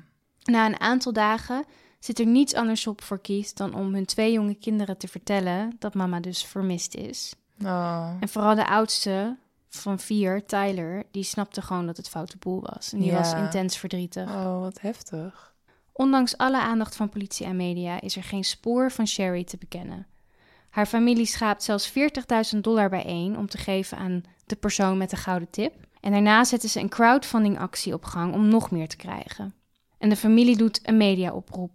Speaker 2: Na een aantal dagen zit er niets anders op voor Keith dan om hun twee jonge kinderen te vertellen dat mama dus vermist is.
Speaker 1: Oh.
Speaker 2: En vooral de oudste van vier, Tyler, die snapte gewoon dat het foute boel was. En die
Speaker 1: Ja.
Speaker 2: was intens verdrietig.
Speaker 1: oh, wat heftig.
Speaker 2: Ondanks alle aandacht van politie en media is er geen spoor van Sherry te bekennen. Haar familie schaapt zelfs 40.000 dollar bijeen om te geven aan de persoon met de gouden tip. En daarna zetten ze een crowdfundingactie op gang om nog meer te krijgen. En de familie doet een mediaoproep.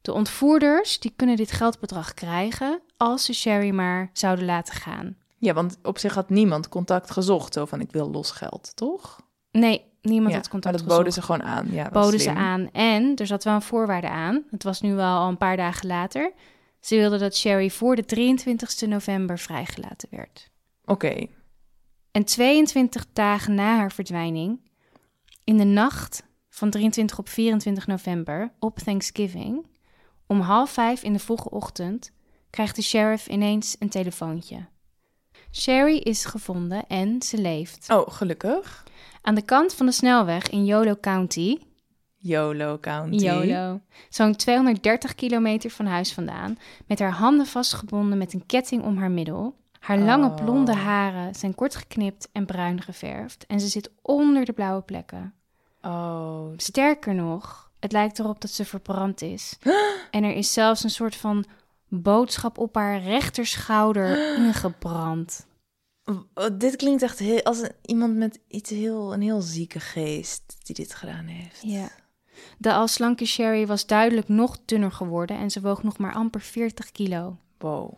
Speaker 2: De ontvoerders die kunnen dit geldbedrag krijgen als ze Sherry maar zouden laten gaan.
Speaker 1: Ja, want op zich had niemand contact gezocht. Zo van, ik wil los geld, toch?
Speaker 2: Nee, niemand
Speaker 1: ja,
Speaker 2: had
Speaker 1: maar
Speaker 2: contact
Speaker 1: dat boden
Speaker 2: gezocht.
Speaker 1: ze gewoon aan. Ja, was
Speaker 2: boden ze
Speaker 1: Oh, slim.
Speaker 2: aan. En er zat wel een voorwaarde aan. Het was nu wel al een paar dagen later. Ze wilden dat Sherry voor de 23 november vrijgelaten werd.
Speaker 1: Oké.
Speaker 2: En 22 dagen na haar verdwijning, in de nacht van 23 op 24 november, op Thanksgiving, om half vijf in de vroege ochtend, krijgt de sheriff ineens een telefoontje. Sherry is gevonden en ze leeft.
Speaker 1: Oh, gelukkig.
Speaker 2: Aan de kant van de snelweg in Yolo County,
Speaker 1: YOLO County.
Speaker 2: Yolo, zo'n 230 kilometer van huis vandaan, met haar handen vastgebonden met een ketting om haar middel. Haar lange
Speaker 1: Oh.
Speaker 2: blonde haren zijn kort geknipt en bruin geverfd en ze zit onder de blauwe plekken.
Speaker 1: Oh,
Speaker 2: Sterker nog, het lijkt erop dat ze verbrand is. En er is zelfs een soort van boodschap op haar rechterschouder ingebrand.
Speaker 1: Oh, dit klinkt echt heel, als een- iemand met iets heel, een heel zieke geest die dit gedaan heeft.
Speaker 2: Ja. De al slanke Sherry was duidelijk nog dunner geworden en ze woog nog maar amper 40 kilo.
Speaker 1: Wow.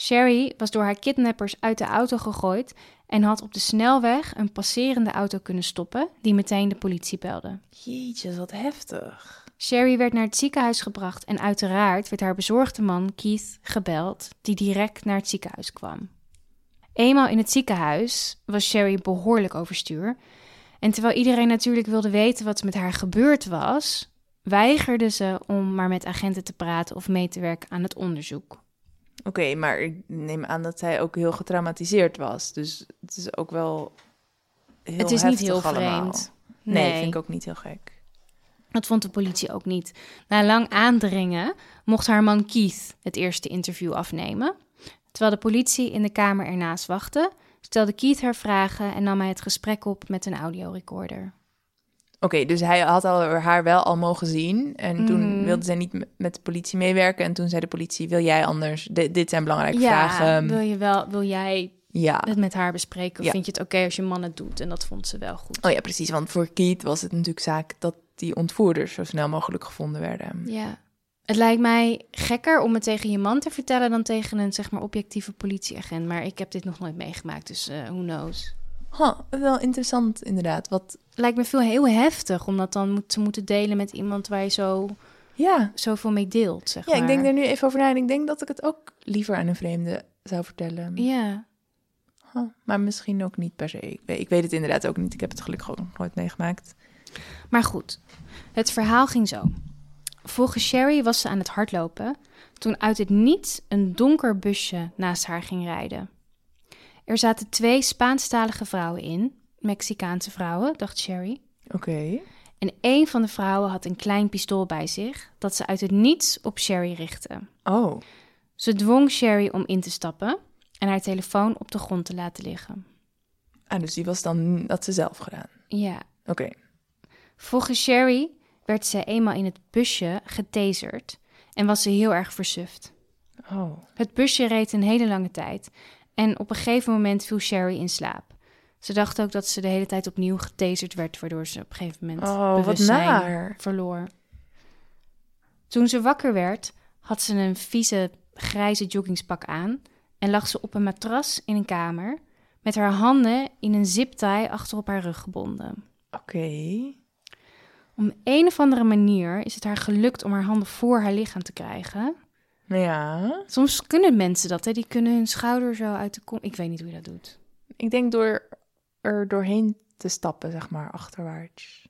Speaker 2: Sherry was door haar kidnappers uit de auto gegooid en had op de snelweg een passerende auto kunnen stoppen, die meteen de politie belde.
Speaker 1: Jeetje, wat heftig.
Speaker 2: Sherry werd naar het ziekenhuis gebracht en uiteraard werd haar bezorgde man Keith gebeld, die direct naar het ziekenhuis kwam. Eenmaal in het ziekenhuis was Sherry behoorlijk overstuur. En terwijl iedereen natuurlijk wilde weten wat er met haar gebeurd was, weigerde ze om maar met agenten te praten of mee te werken aan het onderzoek.
Speaker 1: Oké, maar ik neem aan dat hij ook heel getraumatiseerd was. Dus het is ook wel heel
Speaker 2: het is niet
Speaker 1: heftig
Speaker 2: heel
Speaker 1: allemaal.
Speaker 2: vreemd.
Speaker 1: Nee, vind ik ook niet heel gek.
Speaker 2: Dat vond de politie ook niet. Na lang aandringen mocht haar man Keith het eerste interview afnemen. Terwijl de politie in de kamer ernaast wachtte, stelde Keith haar vragen en nam hij het gesprek op met een audiorecorder.
Speaker 1: Oké, dus hij had al, haar wel al mogen zien. En toen
Speaker 2: Mhm.
Speaker 1: wilde zij niet m- met de politie meewerken. En toen zei de politie, wil jij anders? Di- dit zijn belangrijke vragen.
Speaker 2: wil, je wel, wil jij
Speaker 1: Ja.
Speaker 2: het met haar bespreken? Of
Speaker 1: ehm, Ah. Ja.
Speaker 2: vind je het oké als je man het doet? En dat vond ze wel goed.
Speaker 1: Oh ja, precies. Want voor Keith was het natuurlijk zaak dat die ontvoerders zo snel mogelijk gevonden werden.
Speaker 2: Ja. Het lijkt mij gekker om het tegen je man te vertellen dan tegen een zeg maar, objectieve politieagent. Maar ik heb dit nog nooit meegemaakt, dus eh who knows.
Speaker 1: Huh, wel interessant inderdaad. Wat,
Speaker 2: lijkt me veel heel heftig om dat dan moet, te moeten delen met iemand waar je zo,
Speaker 1: ja.
Speaker 2: zoveel mee deelt. Zeg
Speaker 1: ja, ik
Speaker 2: maar.
Speaker 1: denk er nu even over na. En ik denk dat ik het ook liever aan een vreemde zou vertellen.
Speaker 2: Ja,
Speaker 1: Huh, maar misschien ook niet per se. Ik weet, ik weet het inderdaad ook niet. Ik heb het gelukkig ook nog nooit meegemaakt.
Speaker 2: maar goed. Het verhaal ging zo. Volgens Sherry was ze aan het hardlopen toen uit het niets een donker busje naast haar ging rijden. Er zaten twee Spaanstalige vrouwen in, Mexicaanse vrouwen, dacht Sherry.
Speaker 1: Oké.
Speaker 2: En één van de vrouwen had een klein pistool bij zich dat ze uit het niets op Sherry richtte.
Speaker 1: Oh,
Speaker 2: Ze dwong Sherry om in te stappen en haar telefoon op de grond te laten liggen.
Speaker 1: ah, dus die was dan dat ze zelf gedaan.
Speaker 2: Ja,
Speaker 1: Oké.
Speaker 2: volgens Sherry werd ze eenmaal in het busje getaserd en was ze heel erg versuft.
Speaker 1: Oh.
Speaker 2: Het busje reed een hele lange tijd en op een gegeven moment viel Sherry in slaap. Ze dacht ook dat ze de hele tijd opnieuw getaserd werd, waardoor ze op een gegeven moment
Speaker 1: Oh, wat
Speaker 2: bewustzijn
Speaker 1: naar.
Speaker 2: verloor. Toen ze wakker werd, had ze een vieze grijze joggingspak aan en lag ze op een matras in een kamer met haar handen in een ziptie achter op haar rug gebonden.
Speaker 1: Oké.
Speaker 2: Om een of andere manier is het haar gelukt om haar handen voor haar lichaam te krijgen.
Speaker 1: Nou Ja.
Speaker 2: Soms kunnen mensen dat, hè? die kunnen hun schouder zo uit de kom. Ik weet niet hoe je dat doet.
Speaker 1: Ik denk door er doorheen te stappen, zeg maar, achterwaarts.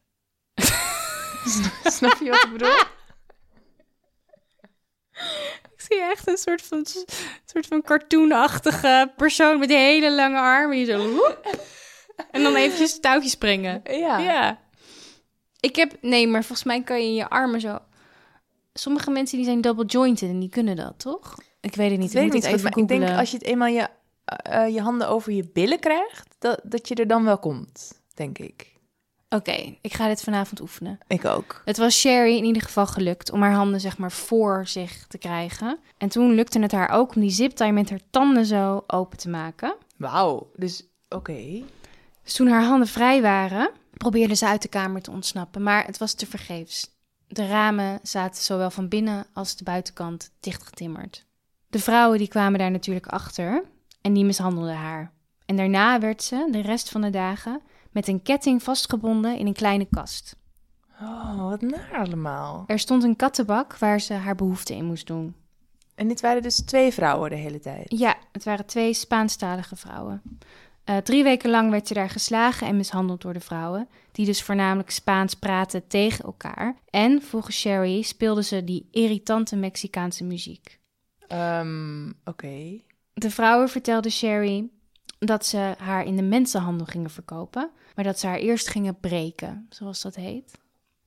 Speaker 1: Sn- Snap je wat ik bedoel?
Speaker 2: Ik zie echt een soort van, soort van cartoonachtige persoon met die hele lange armen. Die zo... En dan eventjes het touwtje springen.
Speaker 1: Ja.
Speaker 2: Ja. Ik heb... Nee, maar volgens mij kan je je armen zo... Sommige mensen die zijn double jointed en die kunnen dat, toch? Ik weet het niet.
Speaker 1: Ik weet
Speaker 2: ik moet
Speaker 1: niet
Speaker 2: het
Speaker 1: goed,
Speaker 2: even
Speaker 1: maar ik denk
Speaker 2: googlen.
Speaker 1: als je het eenmaal je, eh, eh, je handen over je billen krijgt, dat, dat je er dan wel komt, denk ik.
Speaker 2: Oké, ik ga dit vanavond oefenen.
Speaker 1: Ik ook.
Speaker 2: Het was Sherry in ieder geval gelukt om haar handen zeg maar voor zich te krijgen. En toen lukte het haar ook om die ziptie met haar tanden zo open te maken.
Speaker 1: Wauw. Dus, oké.
Speaker 2: Dus toen haar handen vrij waren, probeerde ze uit de kamer te ontsnappen. Maar het was tevergeefs. De ramen zaten zowel van binnen als de buitenkant dichtgetimmerd. De vrouwen die kwamen daar natuurlijk achter en die mishandelden haar. En daarna werd ze de rest van de dagen met een ketting vastgebonden in een kleine kast.
Speaker 1: Oh, wat naar allemaal.
Speaker 2: Er stond een kattenbak waar ze haar behoeften in moest doen.
Speaker 1: En dit waren dus twee vrouwen de hele tijd.
Speaker 2: Ja, het waren twee Spaanstalige vrouwen. Eh, drie weken lang werd ze daar geslagen en mishandeld door de vrouwen, die dus voornamelijk Spaans praten tegen elkaar. En volgens Sherry speelden ze die irritante Mexicaanse muziek.
Speaker 1: Ehm, oké.
Speaker 2: De vrouwen vertelden Sherry dat ze haar in de mensenhandel gingen verkopen, maar dat ze haar eerst gingen breken, zoals dat heet.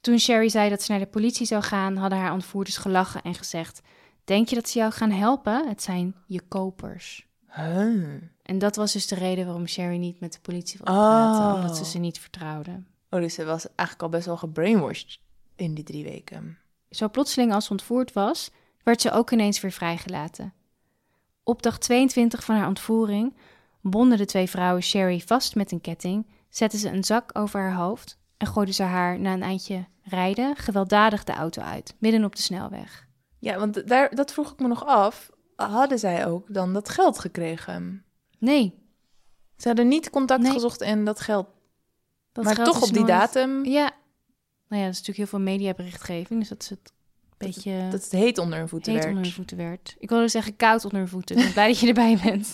Speaker 2: Toen Sherry zei dat ze naar de politie zou gaan, hadden haar ontvoerders gelachen en gezegd: Denk je dat ze jou gaan helpen? Het zijn je kopers.
Speaker 1: Huh.
Speaker 2: En dat was dus de reden waarom Sherry niet met de politie wilde
Speaker 1: Oh.
Speaker 2: praten, omdat ze ze niet vertrouwde.
Speaker 1: Oh, dus ze was eigenlijk al best wel gebrainwashed in die drie weken.
Speaker 2: Zo plotseling als ze ontvoerd was, werd ze ook ineens weer vrijgelaten. Op dag 22 van haar ontvoering bonden de twee vrouwen Sherry vast met een ketting, zetten ze een zak over haar hoofd en gooiden ze haar na een eindje rijden gewelddadig de auto uit, midden op de snelweg.
Speaker 1: Ja, want d- daar, dat vroeg ik me nog af. Hadden zij ook dan dat geld gekregen?
Speaker 2: Nee,
Speaker 1: Ze hadden niet contact
Speaker 2: Nee.
Speaker 1: gezocht en dat geld.
Speaker 2: dat
Speaker 1: maar
Speaker 2: geld
Speaker 1: toch
Speaker 2: is
Speaker 1: op die
Speaker 2: nooit-
Speaker 1: datum
Speaker 2: Ja. Nou ja, dat is natuurlijk heel veel mediaberichtgeving, dus dat is het beetje
Speaker 1: dat het heet onder hun voeten
Speaker 2: heet
Speaker 1: werd.
Speaker 2: onder hun voeten werd. Ik wilde zeggen koud onder hun voeten. Ik ben blij dat je erbij bent.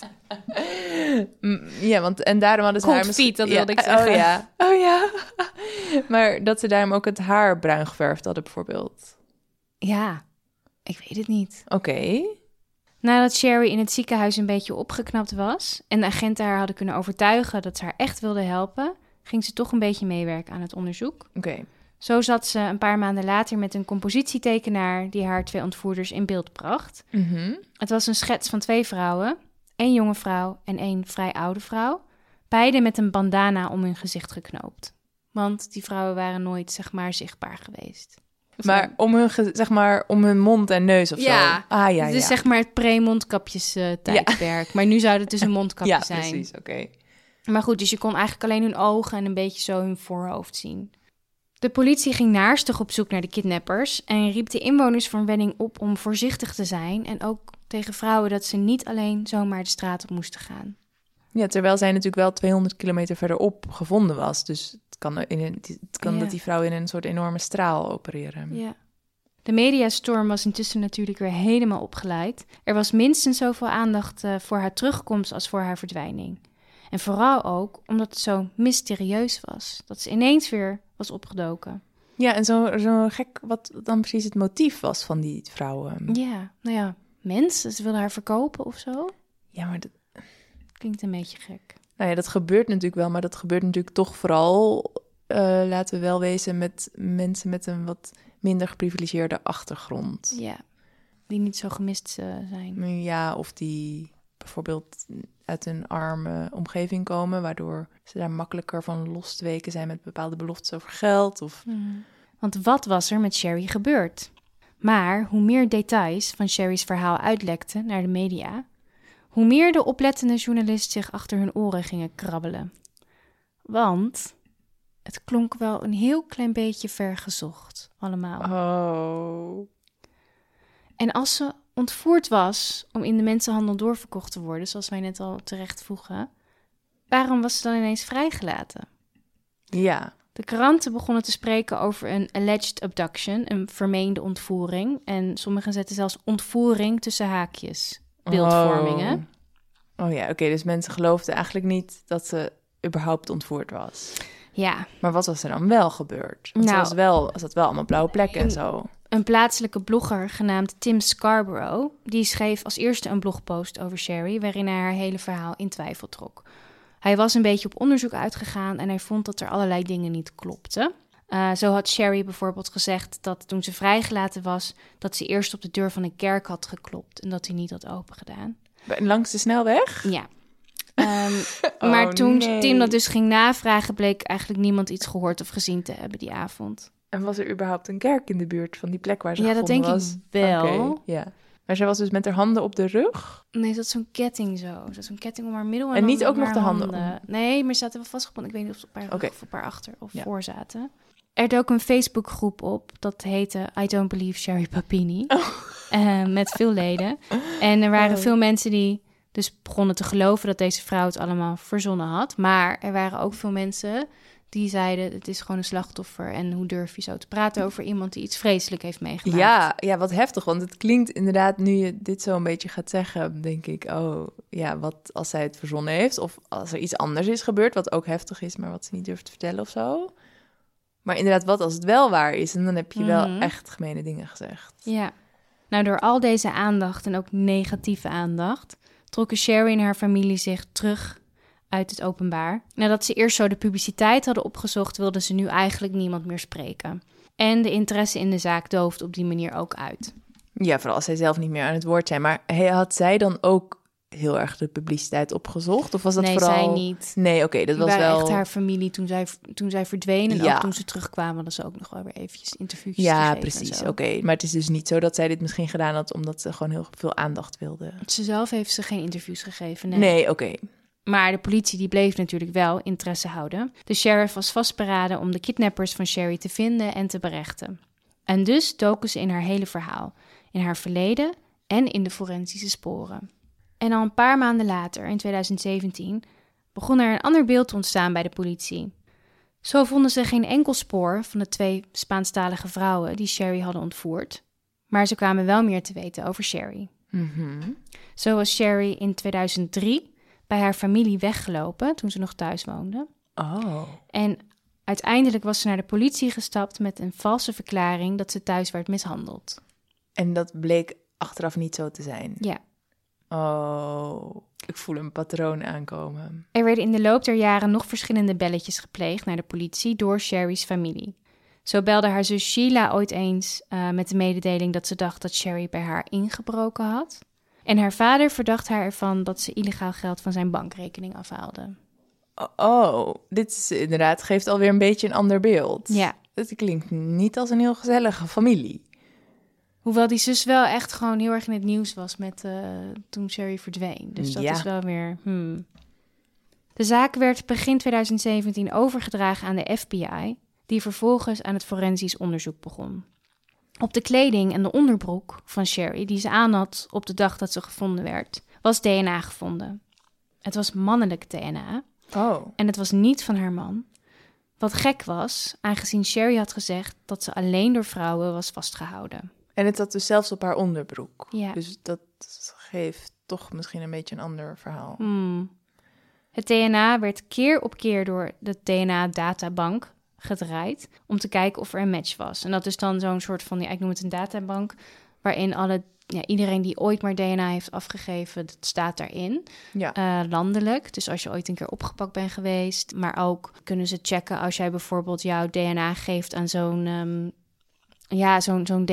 Speaker 1: Mm, Ja, want en daarom hadden ze
Speaker 2: Cold
Speaker 1: haar misschien-
Speaker 2: feet, dat
Speaker 1: ja,
Speaker 2: wilde ik
Speaker 1: eh,
Speaker 2: zeggen.
Speaker 1: Oh ja, oh ja. maar dat ze daarom ook het haar bruin geverfd hadden bijvoorbeeld.
Speaker 2: Ja, ik weet het niet.
Speaker 1: Oké.
Speaker 2: Nadat Sherry in het ziekenhuis een beetje opgeknapt was en de agenten haar hadden kunnen overtuigen dat ze haar echt wilden helpen, ging ze toch een beetje meewerken aan het onderzoek.
Speaker 1: Oké.
Speaker 2: Zo zat ze een paar maanden later met een compositietekenaar die haar twee ontvoerders in beeld bracht.
Speaker 1: Mhm.
Speaker 2: Het was een schets van twee vrouwen, één jonge vrouw en één vrij oude vrouw, beide met een bandana om hun gezicht geknoopt. Want die vrouwen waren nooit, zeg maar, zichtbaar geweest. Of
Speaker 1: Maar om hun, ge- zeg maar, om hun mond en neus of
Speaker 2: Ja. Dus
Speaker 1: zo. Ah ja,
Speaker 2: Het is
Speaker 1: ja.
Speaker 2: zeg maar het pre-mondkapjes-tijdperk. Maar nu zou het dus een mondkapje
Speaker 1: ja,
Speaker 2: zijn.
Speaker 1: precies. Oké.
Speaker 2: Maar goed, dus je kon eigenlijk alleen hun ogen en een beetje zo hun voorhoofd zien. De politie ging naarstig op zoek naar de kidnappers en riep de inwoners van Redding op om voorzichtig te zijn en ook tegen vrouwen dat ze niet alleen zomaar de straat op moesten gaan.
Speaker 1: Ja, terwijl zij natuurlijk wel 200 kilometer verderop gevonden was. Dus het kan, in een, het kan
Speaker 2: Ja.
Speaker 1: dat die vrouwen in een soort enorme straal opereren.
Speaker 2: Ja. De mediastorm was intussen natuurlijk weer helemaal opgeleid. Er was minstens zoveel aandacht eh, voor haar terugkomst als voor haar verdwijning. En vooral ook omdat het zo mysterieus was, dat ze ineens weer was opgedoken.
Speaker 1: Ja, en zo, zo gek wat dan precies het motief was van die vrouwen.
Speaker 2: Ja, nou ja, mensen. Ze wilden haar verkopen of zo.
Speaker 1: Ja, maar dat,
Speaker 2: Klinkt een beetje gek.
Speaker 1: nou ja, dat gebeurt natuurlijk wel, maar dat gebeurt natuurlijk toch vooral, eh, laten we wel wezen, met mensen met een wat minder geprivilegeerde achtergrond.
Speaker 2: Ja. Die niet zo gemist eh, zijn.
Speaker 1: Ja, of die bijvoorbeeld uit een arme omgeving komen, waardoor ze daar makkelijker van los te weken zijn met bepaalde beloftes over geld. Of
Speaker 2: Want wat was er met Sherry gebeurd? Maar hoe meer details van Sherry's verhaal uitlekten naar de media, hoe meer de oplettende journalist zich achter hun oren gingen krabbelen. Want het klonk wel een heel klein beetje vergezocht, allemaal.
Speaker 1: Oh.
Speaker 2: En als ze ontvoerd was om in de mensenhandel doorverkocht te worden, zoals wij net al terecht vroegen, waarom was ze dan ineens vrijgelaten?
Speaker 1: Ja.
Speaker 2: De kranten begonnen te spreken over een alleged abduction, een vermeende ontvoering. En sommigen zetten zelfs ontvoering tussen haakjes. Beeldvormingen.
Speaker 1: Oh, Oh ja, oké. dus mensen geloofden eigenlijk niet dat ze überhaupt ontvoerd was.
Speaker 2: Ja,
Speaker 1: Maar wat was er dan wel gebeurd? Want
Speaker 2: Nou.
Speaker 1: ze was wel, ze had wel allemaal blauwe plekken en zo.
Speaker 2: een plaatselijke blogger genaamd Tim Scarborough, die schreef als eerste een blogpost over Sherry, waarin hij haar hele verhaal in twijfel trok. Hij was een beetje op onderzoek uitgegaan en hij vond dat er allerlei dingen niet klopten. Eh, zo had Sherry bijvoorbeeld gezegd dat toen ze vrijgelaten was, dat ze eerst op de deur van een kerk had geklopt en dat hij niet had opengedaan.
Speaker 1: Bij- Langs de snelweg?
Speaker 2: Ja. Ehm, maar
Speaker 1: Oh,
Speaker 2: toen
Speaker 1: nee.
Speaker 2: Tim dat dus ging navragen, bleek eigenlijk niemand iets gehoord of gezien te hebben die avond.
Speaker 1: En was er überhaupt een kerk in de buurt van die plek waar ze
Speaker 2: Ja, dat
Speaker 1: gevonden
Speaker 2: denk
Speaker 1: was?
Speaker 2: ik wel.
Speaker 1: Oké, ja. Maar zij was dus met haar handen op de rug?
Speaker 2: Nee, dat is zo'n ketting zo. Dat is zo'n ketting om haar middel en,
Speaker 1: En
Speaker 2: dan
Speaker 1: niet ook
Speaker 2: om
Speaker 1: nog
Speaker 2: haar
Speaker 1: de handen
Speaker 2: Nee, maar ze zaten wel vastgebonden. Ik weet niet of ze op haar rug
Speaker 1: Oké.
Speaker 2: of op haar achter of
Speaker 1: Ja.
Speaker 2: voor zaten. Er dook een Facebookgroep op, dat heette I Don't Believe Sherry Papini. Eh, met veel leden. En er waren
Speaker 1: Oh.
Speaker 2: veel mensen die dus begonnen te geloven dat deze vrouw het allemaal verzonnen had. Maar er waren ook veel mensen die zeiden, het is gewoon een slachtoffer. En hoe durf je zo te praten over iemand die iets vreselijk heeft meegemaakt.
Speaker 1: Ja, ja, wat heftig. Want het klinkt inderdaad, nu je dit zo een beetje gaat zeggen, denk ik... oh, ja, wat als zij het verzonnen heeft? Of als er iets anders is gebeurd, wat ook heftig is... maar wat ze niet durft te vertellen of zo. Maar inderdaad, wat als het wel waar is? En dan heb je wel
Speaker 2: Mhm.
Speaker 1: echt gemene dingen gezegd.
Speaker 2: Ja. Nou, door al deze aandacht en ook negatieve aandacht, trokken Sherry en haar familie zich terug uit het openbaar. Nadat ze eerst zo de publiciteit hadden opgezocht, wilden ze nu eigenlijk niemand meer spreken. En de interesse in de zaak dooft op die manier ook uit.
Speaker 1: Ja, vooral als zij zelf niet meer aan het woord zijn. Maar hij- had zij dan ook heel erg de publiciteit opgezocht? Of was dat
Speaker 2: nee,
Speaker 1: vooral...
Speaker 2: zij niet.
Speaker 1: Nee, oké, dat
Speaker 2: Dat
Speaker 1: was
Speaker 2: waren
Speaker 1: wel...
Speaker 2: echt haar familie toen zij, toen zij verdwenen. En
Speaker 1: Ja.
Speaker 2: ook toen ze terugkwamen, hadden ze ook nog wel weer eventjes interviewtjes
Speaker 1: Ja,
Speaker 2: gegeven en
Speaker 1: precies.
Speaker 2: zo.
Speaker 1: Oké, maar het is dus niet zo dat zij dit misschien gedaan had omdat ze gewoon heel veel aandacht wilde.
Speaker 2: Ze zelf heeft ze geen interviews gegeven.
Speaker 1: Nee,
Speaker 2: nee.
Speaker 1: oké.
Speaker 2: Maar de politie die bleef natuurlijk wel interesse houden. De sheriff was vastberaden om de kidnappers van Sherry te vinden en te berechten. En dus doken ze in haar hele verhaal, in haar verleden en in de forensische sporen. En al een paar maanden later, in 2017, begon er een ander beeld te ontstaan bij de politie. Zo vonden ze geen enkel spoor van de twee Spaanstalige vrouwen die Sherry hadden ontvoerd, maar ze kwamen wel meer te weten over Sherry.
Speaker 1: Mhm.
Speaker 2: Zo was Sherry in 2003 bij haar familie weggelopen toen ze nog thuis woonde.
Speaker 1: Oh.
Speaker 2: En uiteindelijk was ze naar de politie gestapt met een valse verklaring dat ze thuis werd mishandeld.
Speaker 1: En dat bleek achteraf niet zo te zijn.
Speaker 2: Ja.
Speaker 1: Oh, ik voel een patroon aankomen.
Speaker 2: Er werden in de loop der jaren nog verschillende belletjes gepleegd naar de politie door Sherry's familie. Zo belde haar zus Sheila ooit eens eh, met de mededeling dat ze dacht dat Sherry bij haar ingebroken had. En haar vader verdacht haar ervan dat ze illegaal geld van zijn bankrekening afhaalde.
Speaker 1: Oh, dit is inderdaad, geeft alweer een beetje een ander beeld.
Speaker 2: Ja.
Speaker 1: Het klinkt niet als een heel gezellige familie.
Speaker 2: Hoewel die zus wel echt gewoon heel erg in het nieuws was met eh, toen Sherry verdween. Dus dat
Speaker 1: Ja.
Speaker 2: is wel weer. hmm. De zaak werd begin 2017 overgedragen aan de FBI, die vervolgens aan het forensisch onderzoek begon. Op de kleding en de onderbroek van Sherry, die ze aan had op de dag dat ze gevonden werd, was DNA gevonden. Het was mannelijk DNA
Speaker 1: Oh.
Speaker 2: en het was niet van haar man. Wat gek was, aangezien Sherry had gezegd dat ze alleen door vrouwen was vastgehouden.
Speaker 1: En het zat dus zelfs op haar onderbroek.
Speaker 2: Ja.
Speaker 1: Dus dat geeft toch misschien een beetje een ander verhaal.
Speaker 2: Hmm. Het DNA werd keer op keer door de DNA-databank gedraaid om te kijken of er een match was. En dat is dan zo'n soort van, ja, ik noem het een databank, waarin alle, ja, iedereen die ooit maar DNA heeft afgegeven, dat staat daarin.
Speaker 1: Ja.
Speaker 2: Eh, landelijk, dus als je ooit een keer opgepakt bent geweest. Maar ook kunnen ze checken als jij bijvoorbeeld jouw DNA geeft aan zo'n... ehm, ja, zo'n zo'n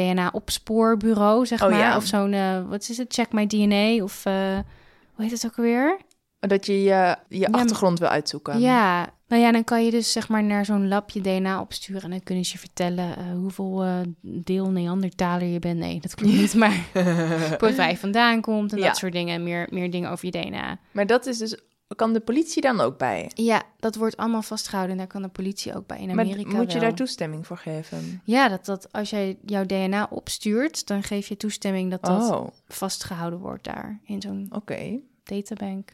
Speaker 2: DNA-opspoorbureau, zeg
Speaker 1: Oh,
Speaker 2: maar.
Speaker 1: ja.
Speaker 2: Of zo'n, eh, wat is het, Check My DNA of... eh, hoe heet het ook alweer?
Speaker 1: Dat je je, je achtergrond wil uitzoeken.
Speaker 2: Ja, nou ja, dan kan je dus zeg maar naar zo'n labje DNA opsturen en dan kunnen ze je vertellen eh, hoeveel eh, deel Neandertaler je bent. Nee, dat klopt niet, maar bijvoorbeeld waar je vandaan komt en
Speaker 1: Ja.
Speaker 2: dat soort dingen. en Meer, meer dingen over je DNA.
Speaker 1: Maar dat is dus, kan de politie dan ook bij?
Speaker 2: Ja, dat wordt allemaal vastgehouden en daar kan de politie ook bij in
Speaker 1: Maar
Speaker 2: Amerika
Speaker 1: moet je
Speaker 2: wel.
Speaker 1: daar toestemming voor geven?
Speaker 2: Ja, dat, dat als jij jouw DNA opstuurt, dan geef je toestemming dat dat
Speaker 1: Oh, oké.
Speaker 2: vastgehouden wordt daar in zo'n databank.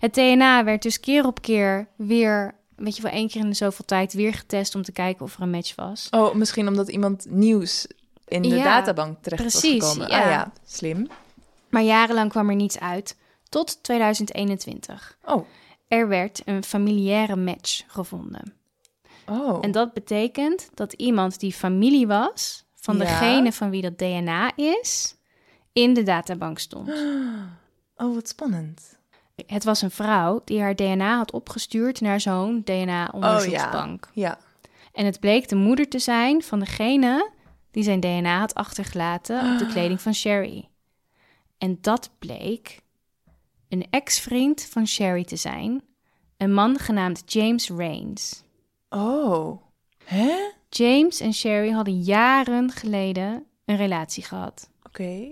Speaker 2: Het DNA werd dus keer op keer weer, weet je wel, één keer in de zoveel tijd weer getest om te kijken of er een match was.
Speaker 1: Oh, misschien omdat iemand nieuws in de
Speaker 2: Ja,
Speaker 1: databank terecht
Speaker 2: precies,
Speaker 1: was gekomen.
Speaker 2: ja.
Speaker 1: Ah ja, slim.
Speaker 2: Maar jarenlang kwam er niets uit, tot 2021.
Speaker 1: Oh,
Speaker 2: Er werd een familiaire match gevonden.
Speaker 1: oh.
Speaker 2: En dat betekent dat iemand die familie was van
Speaker 1: Ja.
Speaker 2: degene van wie dat DNA is, in de databank stond.
Speaker 1: Oh, wat spannend.
Speaker 2: Het was een vrouw die haar DNA had opgestuurd naar zo'n
Speaker 1: Oh
Speaker 2: Oh, DNA-onderzoeksbank.
Speaker 1: Ja.
Speaker 2: En het bleek de moeder te zijn van degene die zijn DNA had achtergelaten op de kleding van Sherry. En dat bleek een ex-vriend van Sherry te zijn, een man genaamd James Rains.
Speaker 1: Oh. Hè? Oké.
Speaker 2: James en Sherry hadden jaren geleden een relatie gehad.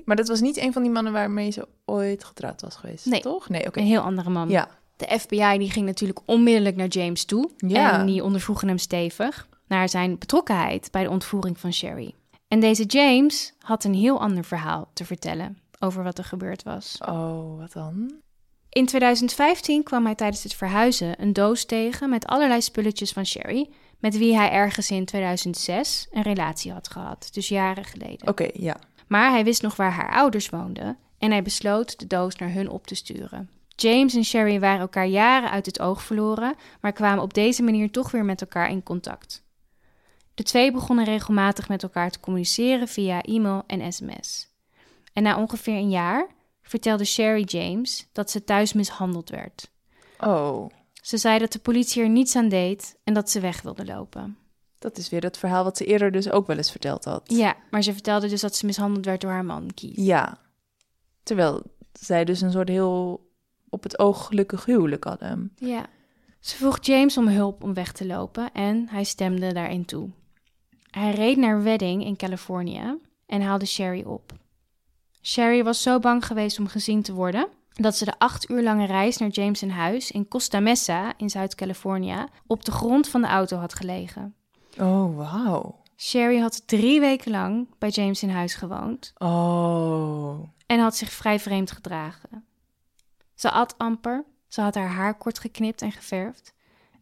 Speaker 1: Maar dat was niet een van die mannen waarmee ze ooit getrouwd was geweest,
Speaker 2: Nee.
Speaker 1: toch? Nee, oké.
Speaker 2: Een heel andere man.
Speaker 1: Ja.
Speaker 2: De FBI die ging natuurlijk onmiddellijk naar James toe.
Speaker 1: Ja.
Speaker 2: En die ondervroegen hem stevig naar zijn betrokkenheid bij de ontvoering van Sherry. En deze James had een heel ander verhaal te vertellen over wat er gebeurd was.
Speaker 1: Oh, wat dan?
Speaker 2: In 2015 kwam hij tijdens het verhuizen een doos tegen met allerlei spulletjes van Sherry, met wie hij ergens in 2006 een relatie had gehad, dus jaren geleden.
Speaker 1: Oké, ja.
Speaker 2: Maar hij wist nog waar haar ouders woonden en hij besloot de doos naar hun op te sturen. James en Sherry waren elkaar jaren uit het oog verloren, maar kwamen op deze manier toch weer met elkaar in contact. De twee begonnen regelmatig met elkaar te communiceren via e-mail en sms. En na ongeveer een jaar vertelde Sherry James dat ze thuis mishandeld werd.
Speaker 1: Oh,
Speaker 2: Ze zei dat de politie er niets aan deed en dat ze weg wilde lopen.
Speaker 1: dat is weer dat verhaal wat ze eerder dus ook wel eens verteld had.
Speaker 2: Ja, maar ze vertelde dus dat ze mishandeld werd door haar man, Keith.
Speaker 1: Ja. Terwijl zij dus een soort heel op het oog gelukkig huwelijk ehm. hadden.
Speaker 2: Ja. Ze vroeg James om hulp om weg te lopen en hij stemde daarin toe. Hij reed naar Redding in Californië en haalde Sherry op. Sherry was zo bang geweest om gezien te worden dat ze de acht uur lange reis naar James' huis in Costa Mesa in Zuid-Californië op de grond van de auto had gelegen.
Speaker 1: Oh, wauw.
Speaker 2: Sherry had drie weken lang bij James in huis gewoond
Speaker 1: Oh.
Speaker 2: en had zich vrij vreemd gedragen. Ze at amper, ze had haar haar kort geknipt en geverfd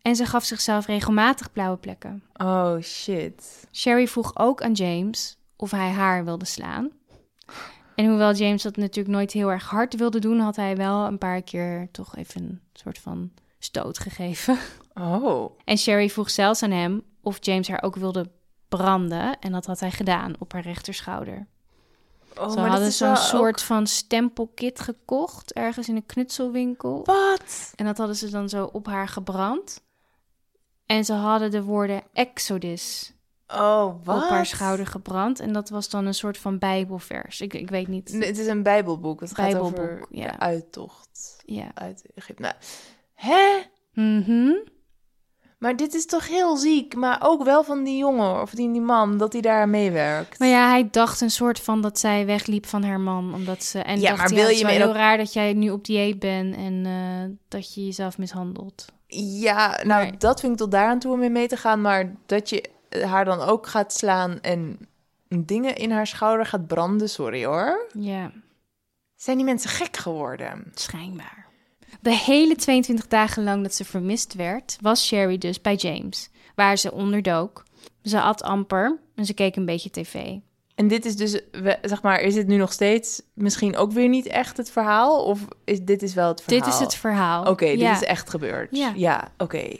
Speaker 2: en ze gaf zichzelf regelmatig blauwe plekken.
Speaker 1: Oh, shit.
Speaker 2: Sherry vroeg ook aan James of hij haar wilde slaan. En hoewel James dat natuurlijk nooit heel erg hard wilde doen, had hij wel een paar keer toch even een soort van stoot gegeven.
Speaker 1: Oh.
Speaker 2: En Sherry vroeg zelfs aan hem of James haar ook wilde branden en dat had hij gedaan op haar rechterschouder.
Speaker 1: oh
Speaker 2: Ze hadden zo'n soort van stempelkit gekocht ergens in een knutselwinkel.
Speaker 1: Wat?
Speaker 2: En dat hadden ze dan zo op haar gebrand. En ze hadden de woorden Exodus
Speaker 1: Oh, wat?
Speaker 2: op haar schouder gebrand. En dat was dan een soort van bijbelvers. Ik, ik weet niet.
Speaker 1: Nee, het is een bijbelboek. Het gaat over
Speaker 2: Bijbelboek, ja.
Speaker 1: de uittocht
Speaker 2: Ja.
Speaker 1: uit Egypte. Nou, hè?
Speaker 2: Mhm.
Speaker 1: Maar dit is toch heel ziek. Maar ook wel van die jongen of die, die man, dat hij daar meewerkt.
Speaker 2: Maar ja, hij dacht een soort van dat zij wegliep van haar man. Omdat ze, en
Speaker 1: Ja,
Speaker 2: dacht,
Speaker 1: maar
Speaker 2: ja,
Speaker 1: wil
Speaker 2: het is
Speaker 1: je
Speaker 2: wel
Speaker 1: me
Speaker 2: heel
Speaker 1: ook-
Speaker 2: raar dat jij nu op dieet bent en eh, dat je jezelf mishandelt.
Speaker 1: Ja, nou,
Speaker 2: Nee.
Speaker 1: dat vind ik tot daaraan toe om mee mee te gaan. Maar dat je eh, haar dan ook gaat slaan en dingen in haar schouder gaat branden, sorry hoor.
Speaker 2: Ja,
Speaker 1: Zijn die mensen gek geworden?
Speaker 2: schijnbaar. De hele 22 dagen lang dat ze vermist werd, was Sherry dus bij James, waar ze onderdook. Ze at amper en ze keek een beetje tv.
Speaker 1: En dit is dus, we- zeg maar, is dit nu nog steeds misschien ook weer niet echt het verhaal? Of is dit is wel het verhaal?
Speaker 2: Dit is het verhaal.
Speaker 1: Oké,
Speaker 2: Ja.
Speaker 1: dit is e- echt gebeurd.
Speaker 2: Ja.
Speaker 1: Ja, oké.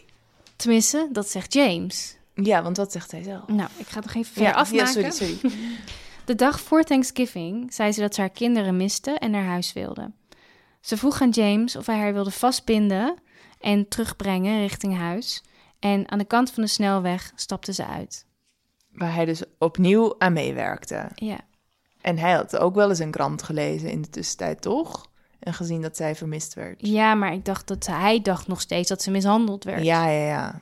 Speaker 2: Tenminste, dat zegt James.
Speaker 1: Ja, want wat zegt hij zelf?
Speaker 2: Nou, ik ga het nog even
Speaker 1: Ja,
Speaker 2: verder afmaken.
Speaker 1: Ja, sorry, sorry.
Speaker 2: De dag voor Thanksgiving zei ze dat ze haar kinderen miste en naar huis wilde. Ze vroeg aan James of hij haar wilde vastbinden en terugbrengen richting huis. En aan de kant van de snelweg stapte ze uit.
Speaker 1: Waar hij dus opnieuw aan meewerkte.
Speaker 2: Ja,
Speaker 1: En hij had ook wel eens een krant gelezen in de tussentijd, toch? En gezien dat zij vermist werd.
Speaker 2: ja maar ik dacht dat hij dacht nog steeds dat ze mishandeld werd.
Speaker 1: Ja, ja, ja.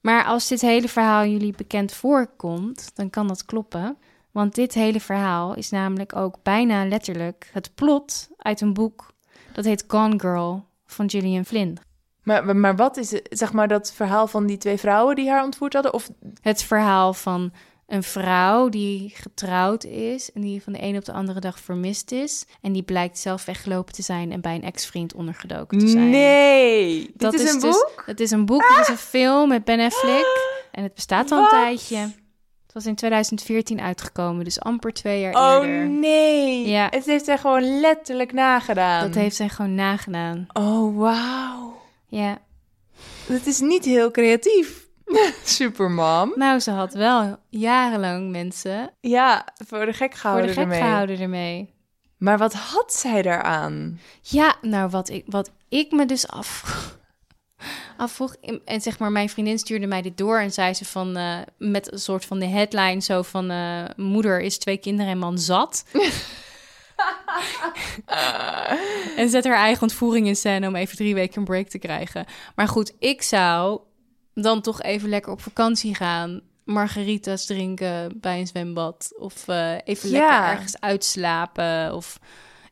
Speaker 2: Maar als dit hele verhaal jullie bekend voorkomt, dan kan dat kloppen. Want dit hele verhaal is namelijk ook bijna letterlijk het plot uit een boek dat heet Gone Girl van Gillian Flynn.
Speaker 1: Maar, maar- maar wat is het, zeg maar dat verhaal van die twee vrouwen die haar ontvoerd hadden? Of
Speaker 2: Het verhaal van een vrouw die getrouwd is en die van de ene op de andere dag vermist is. En die blijkt zelf weggelopen te zijn en bij een ex-vriend ondergedoken te zijn.
Speaker 1: nee, dit
Speaker 2: Dat
Speaker 1: is, een
Speaker 2: dus-
Speaker 1: boek.
Speaker 2: het is een boek, het is een film met Ben Affleck. En het bestaat al een
Speaker 1: Wat?
Speaker 2: tijdje. Het was in 2014 uitgekomen, dus amper twee jaar
Speaker 1: Oh
Speaker 2: eerder.
Speaker 1: nee,
Speaker 2: Ja.
Speaker 1: het heeft zij gewoon letterlijk nagedaan.
Speaker 2: Dat heeft zij gewoon nagedaan.
Speaker 1: Oh wauw,
Speaker 2: Ja.
Speaker 1: dat is niet heel creatief. Supermam.
Speaker 2: Nou, ze had wel jarenlang mensen
Speaker 1: Ja, voor de gek
Speaker 2: voor
Speaker 1: gehouden
Speaker 2: de gek
Speaker 1: ermee.
Speaker 2: gehouden ermee.
Speaker 1: Maar wat had zij daaraan?
Speaker 2: Ja, nou, wat ik, wat ik me dus afvroeg. afvroeg. En zeg maar, mijn vriendin stuurde mij dit door en zei ze van. eh, met een soort van de headline zo van. eh, moeder is twee kinderen en man zat. en zet haar eigen ontvoering in scène om even drie weken een break te krijgen. Maar goed, ik zou dan toch even lekker op vakantie gaan. Margarita's drinken bij een zwembad. Of eh, even
Speaker 1: Ja.
Speaker 2: lekker ergens uitslapen. Of